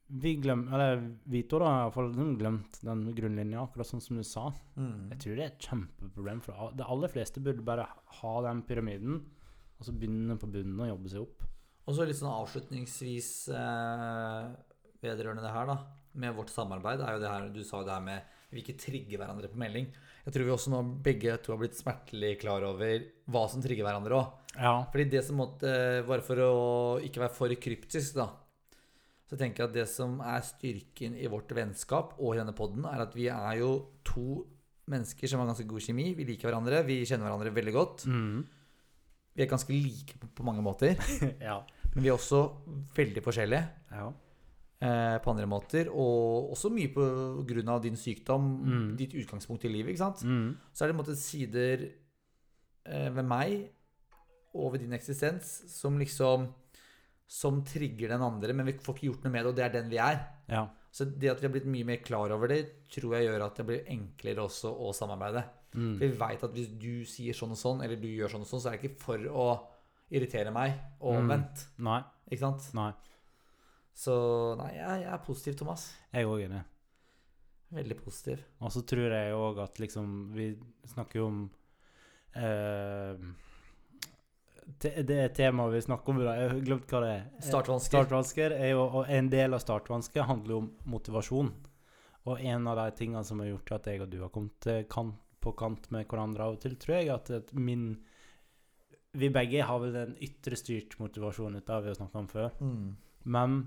Speaker 1: Vi glem, eller Vito da, har i hvert fall glemt den grunnlinja, akkurat sånn som du sa.
Speaker 2: Mm.
Speaker 1: Jeg tror det er et kjempeproblem for a- de aller fleste burde bare ha den pyramiden, og så begynne på bunnen og jobbe seg opp.
Speaker 2: Og så litt sånn avslutningsvis eh, vedrørende det her, da. Med vårt samarbeid er jo det her Du sa jo det her med vi ikke trigger hverandre på melding. Jeg tror vi også nå begge to har blitt smertelig klar over hva som trigger hverandre òg.
Speaker 1: Ja.
Speaker 2: Fordi det som måtte eh, Bare for å ikke være for kryptisk, da. Så tenker jeg at det som er styrken i vårt vennskap og i denne podden, er at vi er jo to mennesker som har ganske god kjemi. Vi liker hverandre. Vi kjenner hverandre veldig godt.
Speaker 1: Mm.
Speaker 2: Vi er ganske like på- på mange måter,
Speaker 1: ja.
Speaker 2: men vi er også veldig forskjellige
Speaker 1: ja.
Speaker 2: eh, på andre måter. Og også mye på grunn av din sykdom,
Speaker 1: Mm.
Speaker 2: ditt utgangspunkt i livet. ikke sant?
Speaker 1: Mm.
Speaker 2: Så er det på en måte sider eh, ved meg og ved din eksistens som liksom Som trigger den andre, men vi får ikke gjort noe med det, og det er den vi er.
Speaker 1: ja.
Speaker 2: Så det at vi har blitt mye mer klar over det, tror jeg gjør at det blir enklere også å samarbeide.
Speaker 1: Mm.
Speaker 2: For vi veit at hvis du sier sånn og sånn, eller du gjør sånn og sånn, så er det ikke for å irritere meg, og
Speaker 1: Mm.
Speaker 2: omvendt.
Speaker 1: Nei.
Speaker 2: Ikke sant?
Speaker 1: Nei.
Speaker 2: Så nei, jeg, jeg er positiv, Thomas.
Speaker 1: Jeg er òg enig.
Speaker 2: Veldig positiv.
Speaker 1: Og så tror jeg òg at liksom Vi snakker jo om eh, te- Det temaet vi snakker om i dag, jeg har glemt hva det er.
Speaker 2: Startvansker.
Speaker 1: Startvansker er jo, og en del av startvansker handler jo om motivasjon. Og en av de tingene som har gjort at jeg og du har kommet eh, kant, på kant med hverandre av og til, tror jeg at, at min Vi begge har vel en ytre styrt motivasjon ut av det vi har snakka om før.
Speaker 2: Mm.
Speaker 1: Men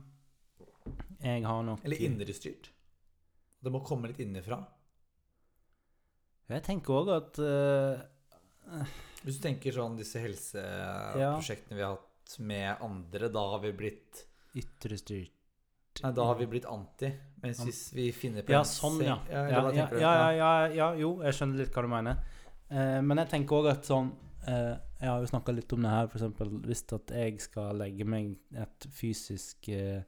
Speaker 1: jeg har nok
Speaker 2: Eller indrestyrt. Det må komme litt innenfra.
Speaker 1: Jeg tenker òg at eh,
Speaker 2: Hvis du tenker sånn disse helseprosjektene vi har hatt med andre, da har vi blitt
Speaker 1: ytre styrt
Speaker 2: Nei, da har vi blitt anti. Mens hvis vi finner på
Speaker 1: Ja,
Speaker 2: en
Speaker 1: sånn,
Speaker 2: seng-
Speaker 1: ja.
Speaker 2: Ja, eller
Speaker 1: Ja,
Speaker 2: hva
Speaker 1: ja,
Speaker 2: tenker du?
Speaker 1: ja, ja, ja, jo, jeg skjønner litt hva du mener. Eh, men jeg tenker òg at sånn eh, Jeg har jo snakka litt om det her, f.eks. Hvis at jeg skal legge meg et fysisk eh,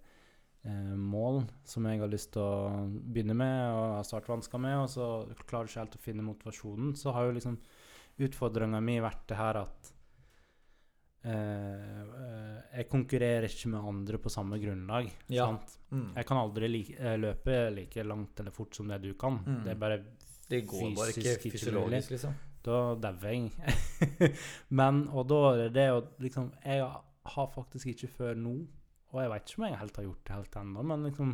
Speaker 1: eh, mål som jeg har lyst til å begynne med og har startvansker med, og så klarer jeg ikke helt å finne motivasjonen, så har jo liksom utfordringa mi vært det her at eh, eh, jeg konkurrerer ikke med andre på samme grunnlag.
Speaker 2: Ja.
Speaker 1: Sant?
Speaker 2: Mm.
Speaker 1: Sånn. Jeg kan aldri li eh, løpe like langt eller fort som det du kan.
Speaker 2: Mm.
Speaker 1: Det er bare
Speaker 2: Det går bare ikke
Speaker 1: fysisk ikke mulig.
Speaker 2: fysiologisk, liksom.
Speaker 1: Da dauer jeg. Men Og da er det det å liksom Jeg har faktisk ikke før nå, og jeg vet ikke om jeg helt har gjort det helt ennå, men liksom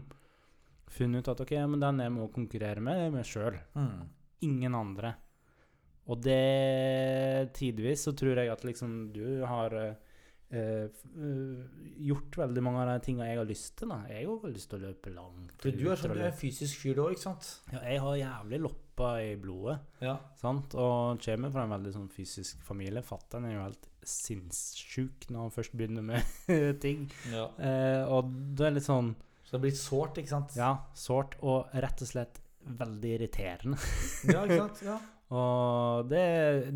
Speaker 1: funnet ut at OK, men den jeg må konkurrere med, det er meg sjøl.
Speaker 2: Mm.
Speaker 1: Ingen andre. Og det Tidvis så tror jeg at liksom du har eh, eh, f- eh, gjort veldig mange av de tinga jeg har lyst til. da. Jeg har jo lyst til å løpe langt.
Speaker 2: For du
Speaker 1: ut
Speaker 2: er
Speaker 1: og
Speaker 2: sånn, du er
Speaker 1: løpe-
Speaker 2: en fysisk fyr, du òg, ikke sant?
Speaker 1: ja, jeg har jævlig loppa i blodet,
Speaker 2: Ja.
Speaker 1: sant? og kommer fra en veldig sånn fysisk familie. Fattern er jo helt sinnssjuk når han først begynner med ting. Eh, og det er litt sånn
Speaker 2: Så det blir sårt, ikke sant?
Speaker 1: ja, sårt og rett og slett veldig irriterende.
Speaker 2: Ja, ikke sant? Ja.
Speaker 1: Og det,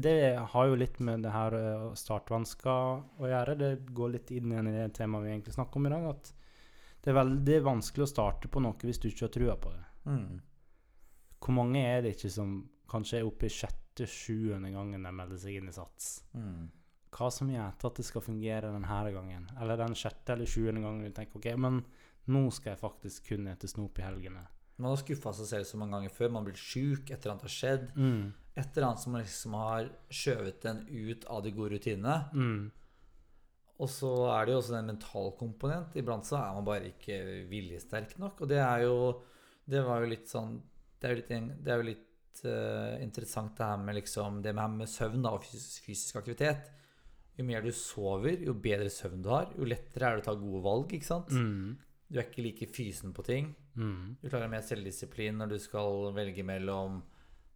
Speaker 1: det har jo litt med det her eh, startvansker å gjøre. Det går litt inn igjen i det temaet vi egentlig snakker om i dag, at det er veldig vanskelig å starte på noe hvis du ikke har trua på det.
Speaker 2: Mm.
Speaker 1: Hvor mange er det ikke som kanskje er oppe i sjette-sjuende gangen de melder seg inn i Sats?
Speaker 2: Mm.
Speaker 1: Hva som gjør at det skal fungere denne gangen? Eller den sjette eller sjuende gangen du tenker ok, men nå skal jeg faktisk kun ete snop i helgene.
Speaker 2: Man har skuffa seg selv så mange ganger før. Man blir sjuk, et eller annet har skjedd.
Speaker 1: Mm,
Speaker 2: Et eller annet som liksom har skjøvet en ut av de gode rutinene.
Speaker 1: mm,
Speaker 2: Og så er det jo også en mental komponent. Iblant så er man bare ikke viljesterk nok. Og det er jo Det var jo litt sånn Det er jo litt, en- det er jo litt eh, interessant det her med liksom Det med, med søvn da, og fysisk, fysisk aktivitet. Jo mer du sover, jo bedre søvn du har, jo lettere er det å ta gode valg. ikke sant?
Speaker 1: mm,
Speaker 2: Du er ikke like fysen på ting.
Speaker 1: mm,
Speaker 2: Du klarer mer selvdisiplin når du skal velge mellom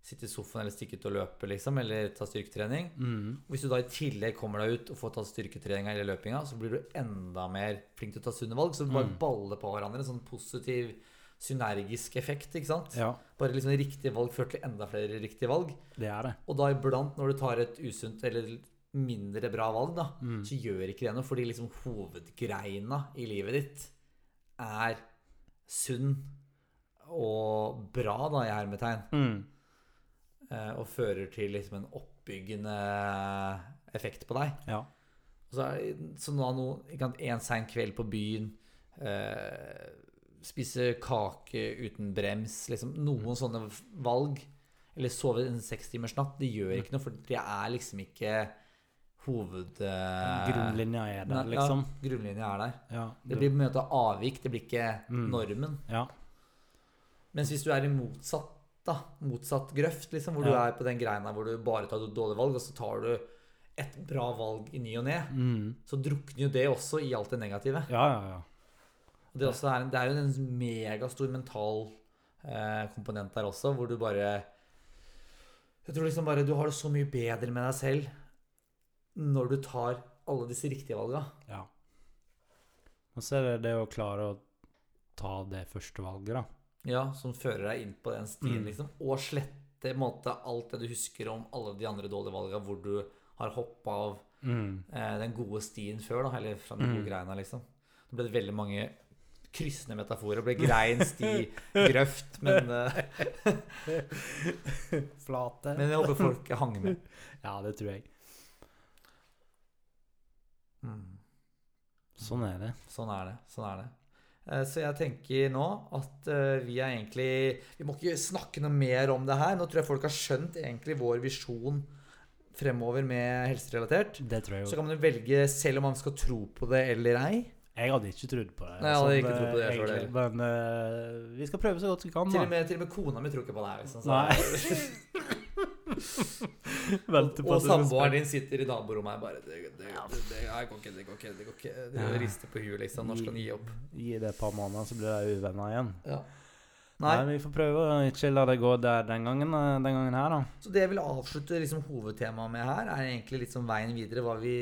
Speaker 2: sitte i sofaen eller stikke ut og løpe, liksom, eller ta styrketrening.
Speaker 1: mm.
Speaker 2: Hvis du da i tillegg kommer deg ut og får tatt styrketreninga eller løpinga, så blir du enda mer flink til å ta sunne valg. Så du bare
Speaker 1: Mm.
Speaker 2: baller på hverandre. En sånn positiv synergisk effekt. ikke sant?
Speaker 1: Ja,
Speaker 2: Bare liksom riktige valg fører til enda flere riktige valg.
Speaker 1: det er det.
Speaker 2: Og da iblant, når du tar et usunt eller mindre bra valg, da,
Speaker 1: Mm.
Speaker 2: så gjør ikke det noe, fordi liksom hovedgreina i livet ditt er sunn og bra, da, i hermetegn.
Speaker 1: Mm.
Speaker 2: eh, Og fører til liksom en oppbyggende effekt på deg.
Speaker 1: Ja.
Speaker 2: Og så er det som da noe Én sein kveld på byen, eh, spise kake uten brems, liksom noen
Speaker 1: Mm.
Speaker 2: sånne valg. Eller sove en sekstimersnatt. Det
Speaker 1: Mm.
Speaker 2: gjør ikke noe, for det er liksom ikke hoved... eh,
Speaker 1: Grunnlinja er der,
Speaker 2: nei,
Speaker 1: liksom.
Speaker 2: Ja, grunnlinja er der.
Speaker 1: Ja,
Speaker 2: Det blir på en måte avvik, det blir ikke
Speaker 1: Mm.
Speaker 2: normen.
Speaker 1: ja.
Speaker 2: Mens hvis du er i motsatt, da, motsatt grøft, liksom, hvor du
Speaker 1: Ja.
Speaker 2: er på den greina hvor du bare tar dårlige valg, og så tar du et bra valg i ny og ne,
Speaker 1: Mm.
Speaker 2: så drukner jo det også i alt det negative.
Speaker 1: ja, ja, ja.
Speaker 2: Og det, også er, en- det er jo en megastor mental eh, komponent der også, hvor du bare Jeg tror liksom bare du har det så mye bedre med deg selv når du tar alle disse riktige valga.
Speaker 1: Ja. Og så er det det å klare å ta det første valget, da.
Speaker 2: Ja, som fører deg inn på den stien,
Speaker 1: Mm.
Speaker 2: liksom. Og slette på en måte, alt det du husker om alle de andre dårlige valga hvor du har hoppa av
Speaker 1: Mm.
Speaker 2: eh, den gode stien før, da. Eller fra den
Speaker 1: Mm.
Speaker 2: gode greina, liksom. Det ble veldig mange kryssende metaforer. Det ble grein, sti, grøft. Men, eh,
Speaker 1: Flate.
Speaker 2: men jeg håper folk hang med.
Speaker 1: Ja, det tror jeg.
Speaker 2: Mm.
Speaker 1: Sånn er det.
Speaker 2: Sånn er det. Sånn er det. Eh, Så jeg tenker nå at eh, vi er egentlig Vi må ikke snakke noe mer om det her. Nå tror jeg folk har skjønt egentlig vår visjon fremover med helserelatert.
Speaker 1: Det tror jeg
Speaker 2: Så
Speaker 1: jo.
Speaker 2: kan man jo velge selv om man skal tro på det eller ei.
Speaker 1: Jeg hadde ikke trodd på det.
Speaker 2: Nei, jeg hadde
Speaker 1: sånn,
Speaker 2: ikke trodd på det, jeg tror
Speaker 1: egentlig.
Speaker 2: det
Speaker 1: Men eh, vi skal prøve så godt vi kan,
Speaker 2: Til og
Speaker 1: da.
Speaker 2: med, til og med kona mi tror ikke på det her. Liksom, så.
Speaker 1: Nei. Venter på
Speaker 2: Og
Speaker 1: at du skal-
Speaker 2: samboeren din sitter i naborommet her bare Det, det, det, det, det jeg går ikke, det går ikke. Det går ikke. Det
Speaker 1: Ja.
Speaker 2: rister på huet, liksom. Når skal han gi opp?
Speaker 1: Gi det et par måneder, så blir de uvenner igjen.
Speaker 2: Ja.
Speaker 1: Nei.
Speaker 2: Nei.
Speaker 1: vi får prøve å ikke la det gå der den gangen, eh, den gangen her, da.
Speaker 2: Så det jeg vil avslutte liksom, hovedtemaet med her, er egentlig litt sånn veien videre. Hva vi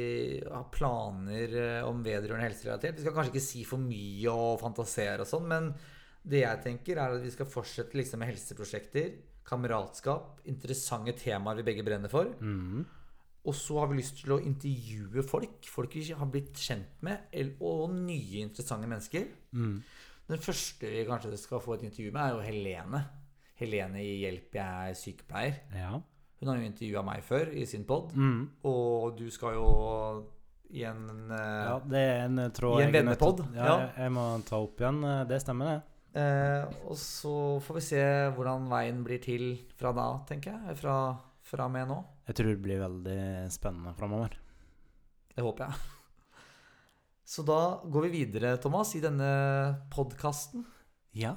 Speaker 2: har planer eh, om vedrørende helserelatert. Vi skal kanskje ikke si for mye og fantasere og sånn, men det jeg tenker, er at vi skal fortsette liksom, med helseprosjekter, kameratskap, interessante temaer vi begge brenner for.
Speaker 1: Mm.
Speaker 2: Og så har vi lyst til å intervjue folk. Folk vi ikke har blitt kjent med, el- og nye, interessante mennesker.
Speaker 1: Mm.
Speaker 2: Den første vi kanskje skal få et intervju med, er jo Helene. Helene i Hjelp, jeg er sykepleier.
Speaker 1: Ja.
Speaker 2: Hun har jo intervjua meg før i sin pod,
Speaker 1: Mm.
Speaker 2: og du skal jo i en eh,
Speaker 1: Ja, det er en eh, tråd
Speaker 2: I en
Speaker 1: jeg er nødt til-
Speaker 2: vennepod,
Speaker 1: Ja,
Speaker 2: ja.
Speaker 1: Jeg, jeg må ta opp igjen. eh, Det stemmer, det.
Speaker 2: eh, Og så får vi se hvordan veien blir til fra da, tenker jeg. Fra, fra og med nå.
Speaker 1: Jeg tror det blir veldig spennende framover.
Speaker 2: Det håper jeg. Så da går vi videre, Thomas, i denne podkasten.
Speaker 1: Ja.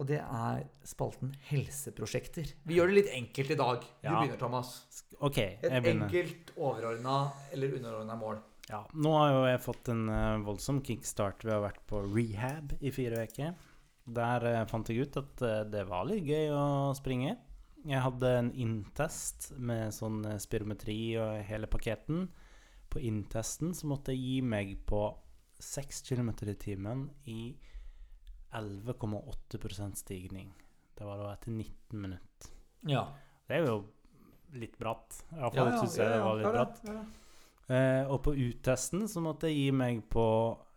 Speaker 2: Og det er spalten Helseprosjekter. Vi gjør det litt enkelt i dag. Du
Speaker 1: Ja.
Speaker 2: begynner, Thomas.
Speaker 1: OK,
Speaker 2: Et
Speaker 1: jeg begynner.
Speaker 2: enkelt, overordna eller underordna mål.
Speaker 1: Ja, nå har jo jeg fått en eh, voldsom kickstart. Vi har vært på rehab i fire uker. Der eh, fant jeg ut at eh, det var litt gøy å springe. Jeg hadde en inntest med sånn eh, spirometri og hele pakketten. På inntesten så måtte jeg gi meg på 6 km i timen i 11,8 stigning. Det var da etter 19 minutter.
Speaker 2: Ja.
Speaker 1: Det er jo litt bratt. Iallfall ja, syns jeg det var litt bratt.
Speaker 2: Ja, ja.
Speaker 1: Eh, og på uttesten sånn så måtte jeg gi meg på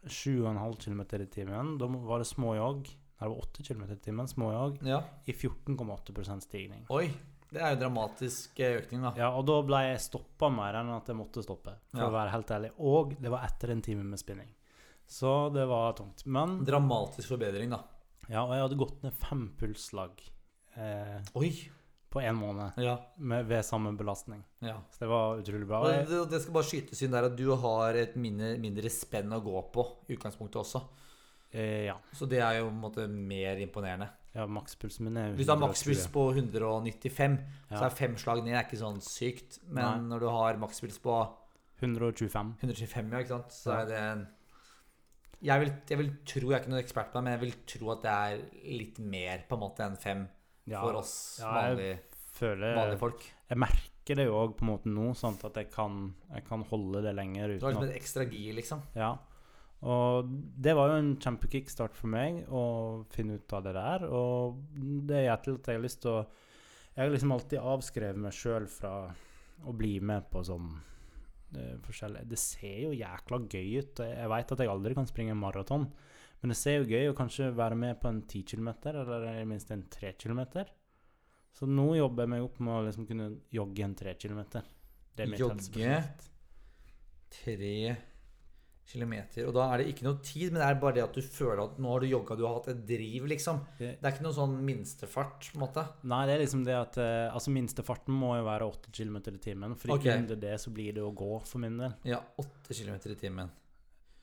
Speaker 1: 7,5 km i timen. Da må- var det småjogg. Nei, det var 8 km i timen, småjogg,
Speaker 2: Ja.
Speaker 1: i 14,8 stigning.
Speaker 2: Oi. Det er jo dramatisk eh, økning, da.
Speaker 1: Ja, og da ble jeg stoppa mer enn at jeg måtte stoppe, for
Speaker 2: Ja.
Speaker 1: å være helt ærlig. Og det var etter en time med spinning. Så det var tungt. Men
Speaker 2: Dramatisk forbedring, da.
Speaker 1: ja, og jeg hadde gått ned fem pulsslag eh,
Speaker 2: Oi.
Speaker 1: på én måned
Speaker 2: Ja.
Speaker 1: med, ved samme belastning.
Speaker 2: ja.
Speaker 1: Så det var utrolig bra.
Speaker 2: Og
Speaker 1: Og jeg,
Speaker 2: det, det skal bare skytes inn der at du har et mindre, mindre spenn å gå på i utgangspunktet også.
Speaker 1: eh, ja.
Speaker 2: Så det er jo på en måte mer imponerende.
Speaker 1: ja makspulsen min er
Speaker 2: Hvis du har
Speaker 1: 120.
Speaker 2: makspuls på 195,
Speaker 1: Ja.
Speaker 2: så er fem slag ned er ikke sånn sykt. Men når du har makspuls på
Speaker 1: 125.
Speaker 2: 125, ja, ikke sant, så er det en jeg vil, jeg vil tro, jeg er ikke noen ekspert på det, men jeg vil tro at det er litt mer på en måte enn fem
Speaker 1: Ja,
Speaker 2: for oss
Speaker 1: Ja,
Speaker 2: vanlige,
Speaker 1: føler
Speaker 2: vanlige folk.
Speaker 1: jeg merker det jo òg på en måte nå, sånn at jeg kan, jeg kan holde det lenger
Speaker 2: Du har
Speaker 1: uten
Speaker 2: liksom
Speaker 1: at
Speaker 2: et ekstra gir, liksom.
Speaker 1: Ja. Og det var jo en kjempekickstart for meg å finne ut av det der. Og det gjør til at jeg har lyst til å Jeg har liksom alltid avskrevet meg sjøl fra å bli med på sånn eh, forskjellig Det ser jo jækla gøy ut. og Jeg veit at jeg aldri kan springe en maraton, men det ser jo gøy å kanskje være med på en 10 km, eller i det minste en 3 km. Så nå jobber jeg meg opp med å liksom kunne jogge en 3 km. Det er mitt
Speaker 2: Jogge.
Speaker 1: helseprosjekt.
Speaker 2: Tre kilometer. Og da er det ikke noe tid, men det er bare det at du føler at nå har du jogga, du har hatt et driv, liksom.
Speaker 1: Det-
Speaker 2: Det er ikke noe sånn minstefart, på en måte.
Speaker 1: Nei, det er liksom det at eh, Altså, minstefarten må jo være 8 km i timen. For
Speaker 2: Ok.
Speaker 1: under det så blir det å gå, for min del.
Speaker 2: Ja, 8 km i timen.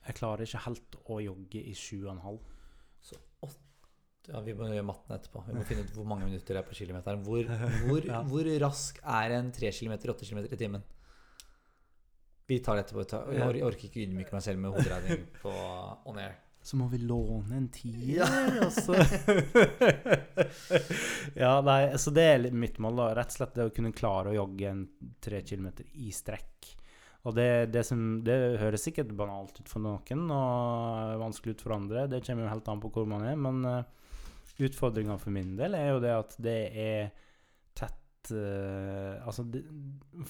Speaker 1: Jeg klarer ikke helt å jogge i 7,5.
Speaker 2: Ja, Vi må gjøre matten etterpå. Vi må finne ut hvor mange minutter det er på kilometeren. Hvor, hvor,
Speaker 1: Ja.
Speaker 2: hvor rask er en 3 km, 8 km i timen? Vi tar det etterpå. Ta- Jeg
Speaker 1: Ja.
Speaker 2: or- jeg orker ikke ydmyke meg selv med hoderegning på on air.
Speaker 1: Så må vi låne en tier, altså.
Speaker 2: Ja.
Speaker 1: og så Ja, nei, så det er litt mitt mål, da. Rett og slett det å kunne klare å jogge en tre kilometer i strekk. Og det, det, som, det høres sikkert banalt ut for noen og vanskelig ut for andre. Det kommer jo helt an på hvor man er. Men eh, utfordringa for min del er jo det at det er tett eh, Altså, det,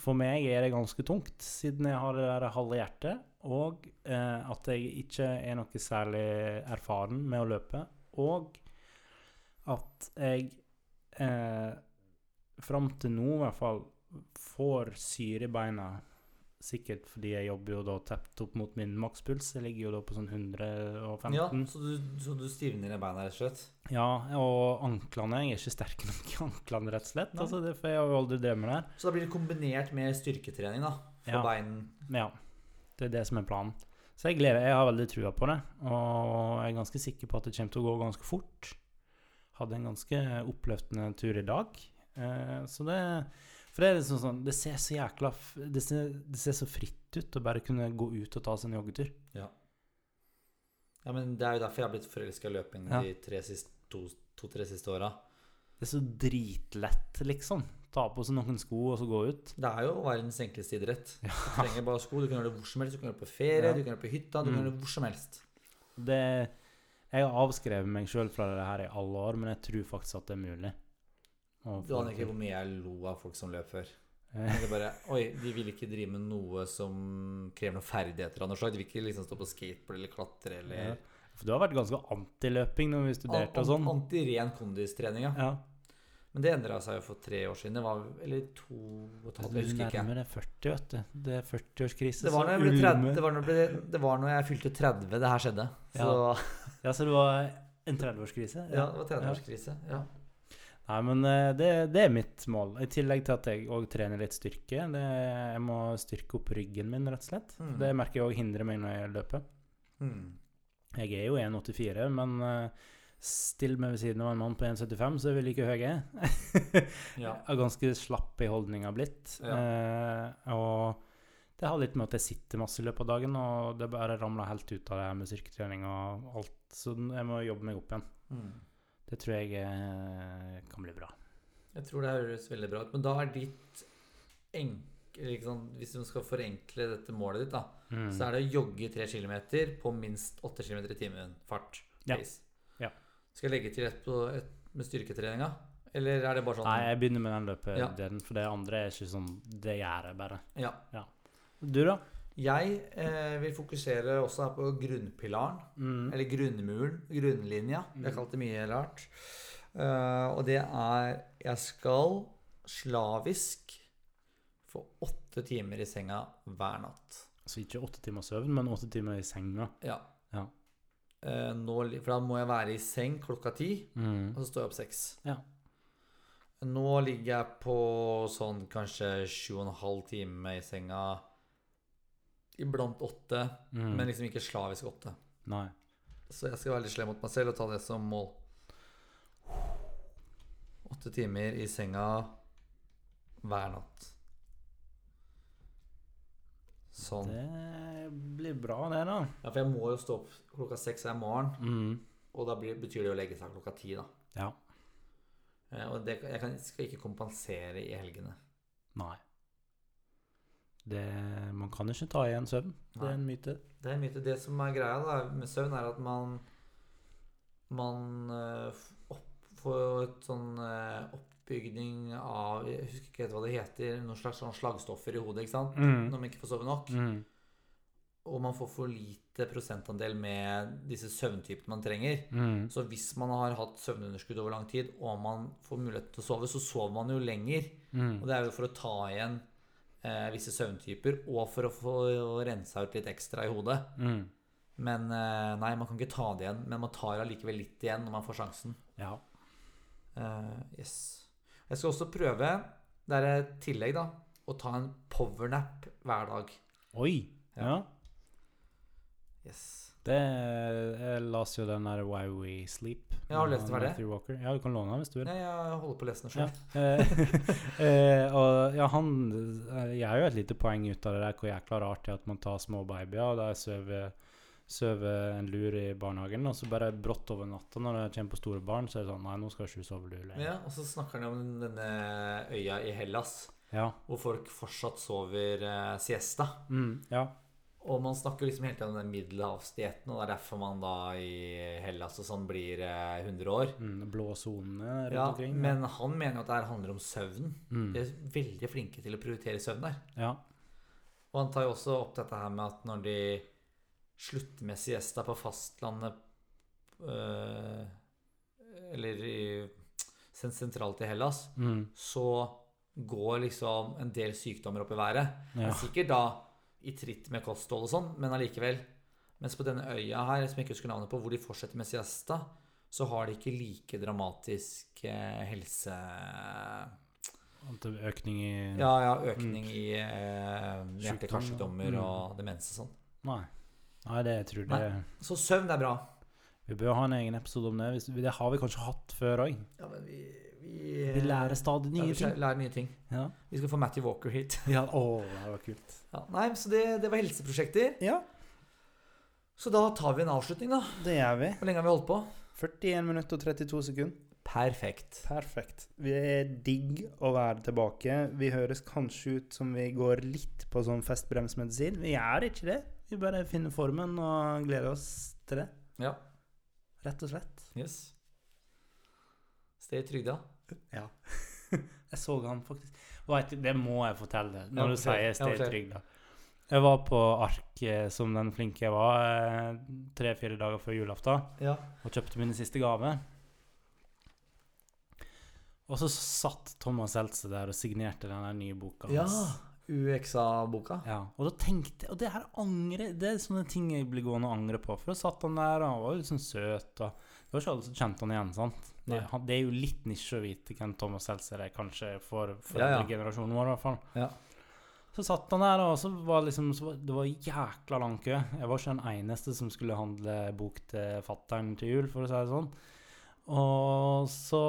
Speaker 1: for meg er det ganske tungt, siden jeg har det der halve hjertet, og eh, at jeg ikke er noe særlig erfaren med å løpe, og at jeg eh, fram til nå i hvert fall får syre i beina. Sikkert fordi jeg jobber jo da tett opp mot min makspuls. Jeg ligger jo da på sånn 115.
Speaker 2: Ja, så du, så du stivner i beina, rett og slett?
Speaker 1: Ja, og anklene. Jeg er ikke sterk nok i anklene, rett og slett.
Speaker 2: Nei.
Speaker 1: Altså, det, for jeg har jo aldri drevet med det.
Speaker 2: Så da blir det kombinert med styrketrening, da. For
Speaker 1: Ja.
Speaker 2: bein.
Speaker 1: her. Ja, det er det som er planen. Så jeg gleder Jeg har veldig trua på det. Og jeg er ganske sikker på at det kommer til å gå ganske fort. Hadde en ganske oppløftende tur i dag. Eh, så det For det er liksom sånn Det ser så jækla f- det ser, det ser så fritt ut å bare kunne gå ut og ta seg en joggetur.
Speaker 2: Ja, men det er jo derfor jeg har blitt forelska i løping
Speaker 1: Ja.
Speaker 2: de tre siste, to, to-tre siste åra.
Speaker 1: Det er så dritlett, liksom. Ta på seg noen sko og så gå ut.
Speaker 2: Det er jo verdens enkleste idrett. Du trenger bare sko. Du kan gjøre det hvor som helst. Du kan gjøre det på ferie,
Speaker 1: Ja.
Speaker 2: du kan gjøre det på hytta, du
Speaker 1: Mm.
Speaker 2: kan gjøre det hvor som helst.
Speaker 1: Det Jeg har avskrevet meg sjøl fra det her i alle år, men jeg tror faktisk at det er mulig. Og
Speaker 2: Du aner ikke hvor mye jeg lo av folk som løp før.
Speaker 1: Eh.
Speaker 2: Det er bare, Oi, de vil ikke drive med noe som krever noen ferdigheter av noe slag. De vil ikke liksom stå på skateboard eller klatre eller
Speaker 1: Ja. For du har vært ganske anti-løping når vi studerte og
Speaker 2: An- an-
Speaker 1: sånn.
Speaker 2: Anti-ren kondistrening, ja.
Speaker 1: Ja.
Speaker 2: Men det endra seg jo for tre år siden. Det var, eller to og et
Speaker 1: Du
Speaker 2: halvt, jeg husker ikke.
Speaker 1: nærmer deg 40, vet du. Det er 40-årskrise.
Speaker 2: Det var, når jeg ble 30, det, var når jeg ble, det var når jeg fylte 30 det her skjedde. Så
Speaker 1: Ja. Ja, så det var en 30-årskrise?
Speaker 2: ja, det var 30-årskrise. Ja.
Speaker 1: Nei, men eh, det, det er mitt mål. I tillegg til at jeg òg trener litt styrke. Det, jeg må styrke opp ryggen min, rett og slett.
Speaker 2: Mm.
Speaker 1: Det merker jeg òg hindrer meg når jeg løper.
Speaker 2: Mm.
Speaker 1: Jeg er jo 1,84, men eh, still meg ved siden av en mann på 1,75, så er vi like høye.
Speaker 2: ja.
Speaker 1: Jeg er ganske slapp i holdninga blitt. Eh, og det har litt med at jeg sitter masse i løpet av dagen, og det bare ramler helt ut av det her med styrketrening og alt. Så jeg må jobbe meg opp igjen.
Speaker 2: Mm.
Speaker 1: Det tror jeg eh, kan bli bra.
Speaker 2: Jeg tror det høres veldig bra ut. Men da er ditt enkle liksom, Hvis du skal forenkle dette målet ditt, da,
Speaker 1: Mm.
Speaker 2: så er det å jogge 3 km på minst 8 km i timen fart.
Speaker 1: Ja.
Speaker 2: pace.
Speaker 1: Ja.
Speaker 2: Skal jeg legge til rett på, et, med styrketreninga? Eller er det bare sånn
Speaker 1: Nei, jeg begynner med den
Speaker 2: Ja.
Speaker 1: løpedelen, for det andre er ikke sånn Det gjør jeg bare.
Speaker 2: Ja.
Speaker 1: Du, da?
Speaker 2: Jeg eh, vil fokusere også her på grunnpilaren.
Speaker 1: Mm.
Speaker 2: Eller grunnmuren, grunnlinja. Vi har kalt det mye rart. Eh, og det er Jeg skal slavisk få åtte timer i senga hver natt.
Speaker 1: Så ikke åtte timer søvn, men åtte timer i senga.
Speaker 2: Ja.
Speaker 1: Ja.
Speaker 2: Eh, nå, li- for da må jeg være i seng klokka ti,
Speaker 1: Mm.
Speaker 2: og så står jeg opp seks.
Speaker 1: Ja.
Speaker 2: Nå ligger jeg på sånn kanskje sju og en halv time i senga. Iblant åtte,
Speaker 1: Mm.
Speaker 2: men liksom ikke slavisk åtte.
Speaker 1: Nei.
Speaker 2: Så jeg skal være litt slem mot meg selv og ta det som mål. Åtte timer i senga hver natt. Sånn.
Speaker 1: Det blir bra, det, da.
Speaker 2: Ja, for jeg må jo stå opp klokka seks hver morgen,
Speaker 1: Mm.
Speaker 2: og da blir, betyr det jo å legge seg klokka ti, da.
Speaker 1: Ja.
Speaker 2: Eh, Og det, jeg kan, skal ikke kompensere i helgene.
Speaker 1: Nei. Det, man kan ikke ta igjen søvn. Det
Speaker 2: Nei.
Speaker 1: er en myte.
Speaker 2: Det er mye til det som er greia da, med søvn, er at man Man eh, f- opp, får et sånn eh, oppbygning av Jeg husker ikke helt hva det heter. Noen slags sånn slagstoffer i hodet. ikke sant? Når man ikke får sove nok.
Speaker 1: Mm.
Speaker 2: Og man får for lite prosentandel med disse søvntypene man trenger.
Speaker 1: Mm.
Speaker 2: Så hvis man har hatt søvnunderskudd over lang tid, og man får mulighet til å sove, så sover man jo lenger.
Speaker 1: Mm.
Speaker 2: Og det er jo for å ta igjen eh, visse søvntyper, og for å få rensa ut litt ekstra i hodet.
Speaker 1: Mm.
Speaker 2: Men eh, nei, man kan ikke ta det igjen. Men man tar allikevel litt igjen når man får sjansen.
Speaker 1: Ja.
Speaker 2: Eh, yes. Jeg skal også prøve, det er et tillegg, da, å ta en powernap hver dag.
Speaker 1: Oi!
Speaker 2: Ja.
Speaker 1: Ja.
Speaker 2: Yes.
Speaker 1: Det Jeg leste jo den der Why We Sleep.
Speaker 2: Ja, har du lest det
Speaker 1: av
Speaker 2: ferdig?
Speaker 1: Matthew Walker. Ja, du kan låne den hvis du vil.
Speaker 2: Nei, jeg holder på å lese den
Speaker 1: Ja.
Speaker 2: sjøl.
Speaker 1: Eh, eh, og ja, han eh, Jeg har jo et lite poeng ut av det der hvor jækla rart det er at man tar små babyer, og der sover sover en lur i barnehagen, og så bare brått over natta når det kommer på store barn, så er det sånn Nei, nå skal ikke du sove lur lenger.
Speaker 2: Ja, og så snakker han om denne øya i Hellas,
Speaker 1: Ja.
Speaker 2: hvor folk fortsatt sover eh, siesta.
Speaker 1: Mm, ja.
Speaker 2: Og man snakker liksom hele tiden om den middelhavsdietten, og det er derfor man da i Hellas og sånn blir eh, 100 år.
Speaker 1: Mm, blå sonene rundt
Speaker 2: Ja,
Speaker 1: omkring.
Speaker 2: men han mener jo at det her handler om søvn.
Speaker 1: Mm,
Speaker 2: De er veldig flinke til å prioritere søvn der.
Speaker 1: ja.
Speaker 2: Og han tar jo også opp dette her med at når de slutter med siesta på fastlandet øh, Eller i, sen- sentralt i Hellas,
Speaker 1: Mm,
Speaker 2: så går liksom en del sykdommer opp i været.
Speaker 1: ja.
Speaker 2: Sikkert da i tritt med kosthold og sånn, men allikevel. Mens på denne øya her, som jeg ikke husker navnet på, hvor de fortsetter med siesta, så har de ikke like dramatisk eh, helse...
Speaker 1: At det er Økning i
Speaker 2: Ja, ja, økning i eh,
Speaker 1: Mm. Sykdom,
Speaker 2: hjerte-karsykdommer
Speaker 1: ja. Mm.
Speaker 2: og demens og sånn.
Speaker 1: Nei. Nei, det tror jeg det
Speaker 2: Så søvn er bra.
Speaker 1: Vi bør ha en egen episode om det. Hvis, det har vi kanskje hatt før òg.
Speaker 2: Ja, men vi Vi,
Speaker 1: Vi lærer stadig nye ting.
Speaker 2: lærer nye ting.
Speaker 1: Ja.
Speaker 2: Vi skal få Matty Walker hit.
Speaker 1: Ja, å, det var kult.
Speaker 2: Ja, nei, så det, det var helseprosjekter.
Speaker 1: Ja,
Speaker 2: Så da tar vi en avslutning, da.
Speaker 1: det gjør vi.
Speaker 2: Hvor lenge har vi holdt på?
Speaker 1: 41 minutter og 32 sekunder.
Speaker 2: Perfekt.
Speaker 1: Perfekt. Vi er digg å være tilbake. Vi høres kanskje ut som vi går litt på sånn festbremsmedisin. Vi gjør ikke det. Vi bare finner formen og gleder oss til det.
Speaker 2: Ja.
Speaker 1: Rett og slett.
Speaker 2: Yes. Stay trygda.
Speaker 1: Ja. jeg så han faktisk Vet, du, Det må jeg fortelle
Speaker 2: Ja,
Speaker 1: når du
Speaker 2: fortell. Ja,
Speaker 1: sier stay
Speaker 2: fortell.
Speaker 1: trygg, da. Jeg var på ark eh, som den flinke jeg var, eh, tre-fire dager før julaften.
Speaker 2: Ja.
Speaker 1: og kjøpte min siste gave. Og så satt Thomas Seltze der og signerte den der nye boka
Speaker 2: ja.
Speaker 1: hans.
Speaker 2: UXA-boka.
Speaker 1: Ja, Og da tenkte jeg Og det her angre, det er sånne ting jeg blir gående og angre på. For da satt han der, og han var jo liksom søt. og Det var ikke alle som kjente han igjen, sant? Det,
Speaker 2: Nei.
Speaker 1: han, det er jo litt nisje å vite hvem Thomas Seltzer er, kanskje for
Speaker 2: Ja, ja.
Speaker 1: foreldregenerasjonen vår, i hvert fall.
Speaker 2: Ja.
Speaker 1: Så satt han der, og så var liksom, så var, det var jækla lang kø. Jeg var ikke den eneste som skulle handle bok til fattern til jul, for å si det sånn. Og så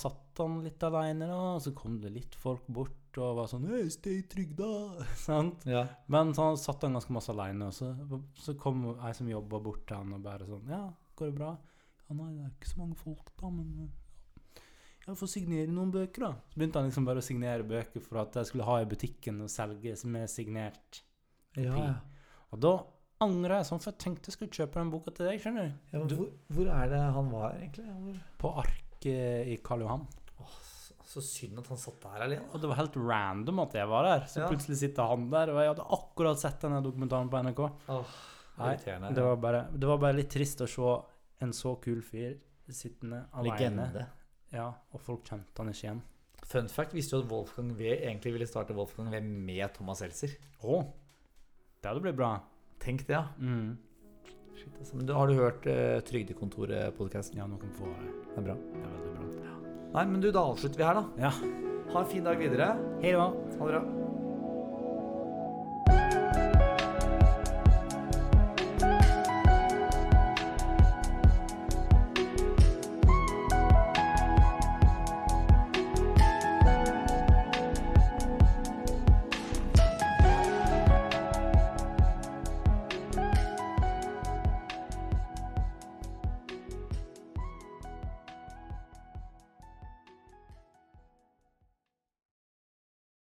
Speaker 1: satt han litt aleine, da, og så kom det litt folk bort og var sånn Hei, stay trygg, da! Sant?
Speaker 2: Ja.
Speaker 1: Men så han satt han ganske masse aleine, og så, så kom ei som jobba bort til han og bare sånn Ja, går det bra? Ja, nei, det er ikke så mange folk, da, men eh, ja, få signere noen bøker, da. Så begynte han liksom bare å signere bøker for at jeg skulle ha i butikken og selge som er signert.
Speaker 2: ja. ja.
Speaker 1: Og da angra jeg sånn, for jeg tenkte jeg skulle kjøpe den boka til deg, skjønner du.
Speaker 2: men hvor, hvor er det han var, egentlig? Hvor?
Speaker 1: På arket i Karl Johan.
Speaker 2: Åh, så- så synd at han satt der alene.
Speaker 1: Og det var helt random at jeg var der. Så
Speaker 2: Ja.
Speaker 1: plutselig sitter han der, og jeg hadde akkurat sett denne dokumentaren på NRK.
Speaker 2: Åh,
Speaker 1: Nei,
Speaker 2: irriterende.
Speaker 1: Det var, bare, det var bare litt trist å se en så kul fyr sittende alene.
Speaker 2: Legende.
Speaker 1: Ja, og folk kjente han ikke igjen.
Speaker 2: Fun fact visste du at Wolfgang V egentlig ville starte Wolfgang V med Thomas Seltzer.
Speaker 1: Å! Det hadde blitt bra.
Speaker 2: Tenk det, ja.
Speaker 1: Mm.
Speaker 2: Shit, altså. Men du, har du hørt eh, Trygdekontoret-podkasten?
Speaker 1: Ja, noen får det.
Speaker 2: Det er bra.
Speaker 1: Det er veldig bra.
Speaker 2: Nei, men du, da avslutter vi her, da.
Speaker 1: Ja.
Speaker 2: Ha en fin dag videre.
Speaker 1: Hei da.
Speaker 2: Ha det bra.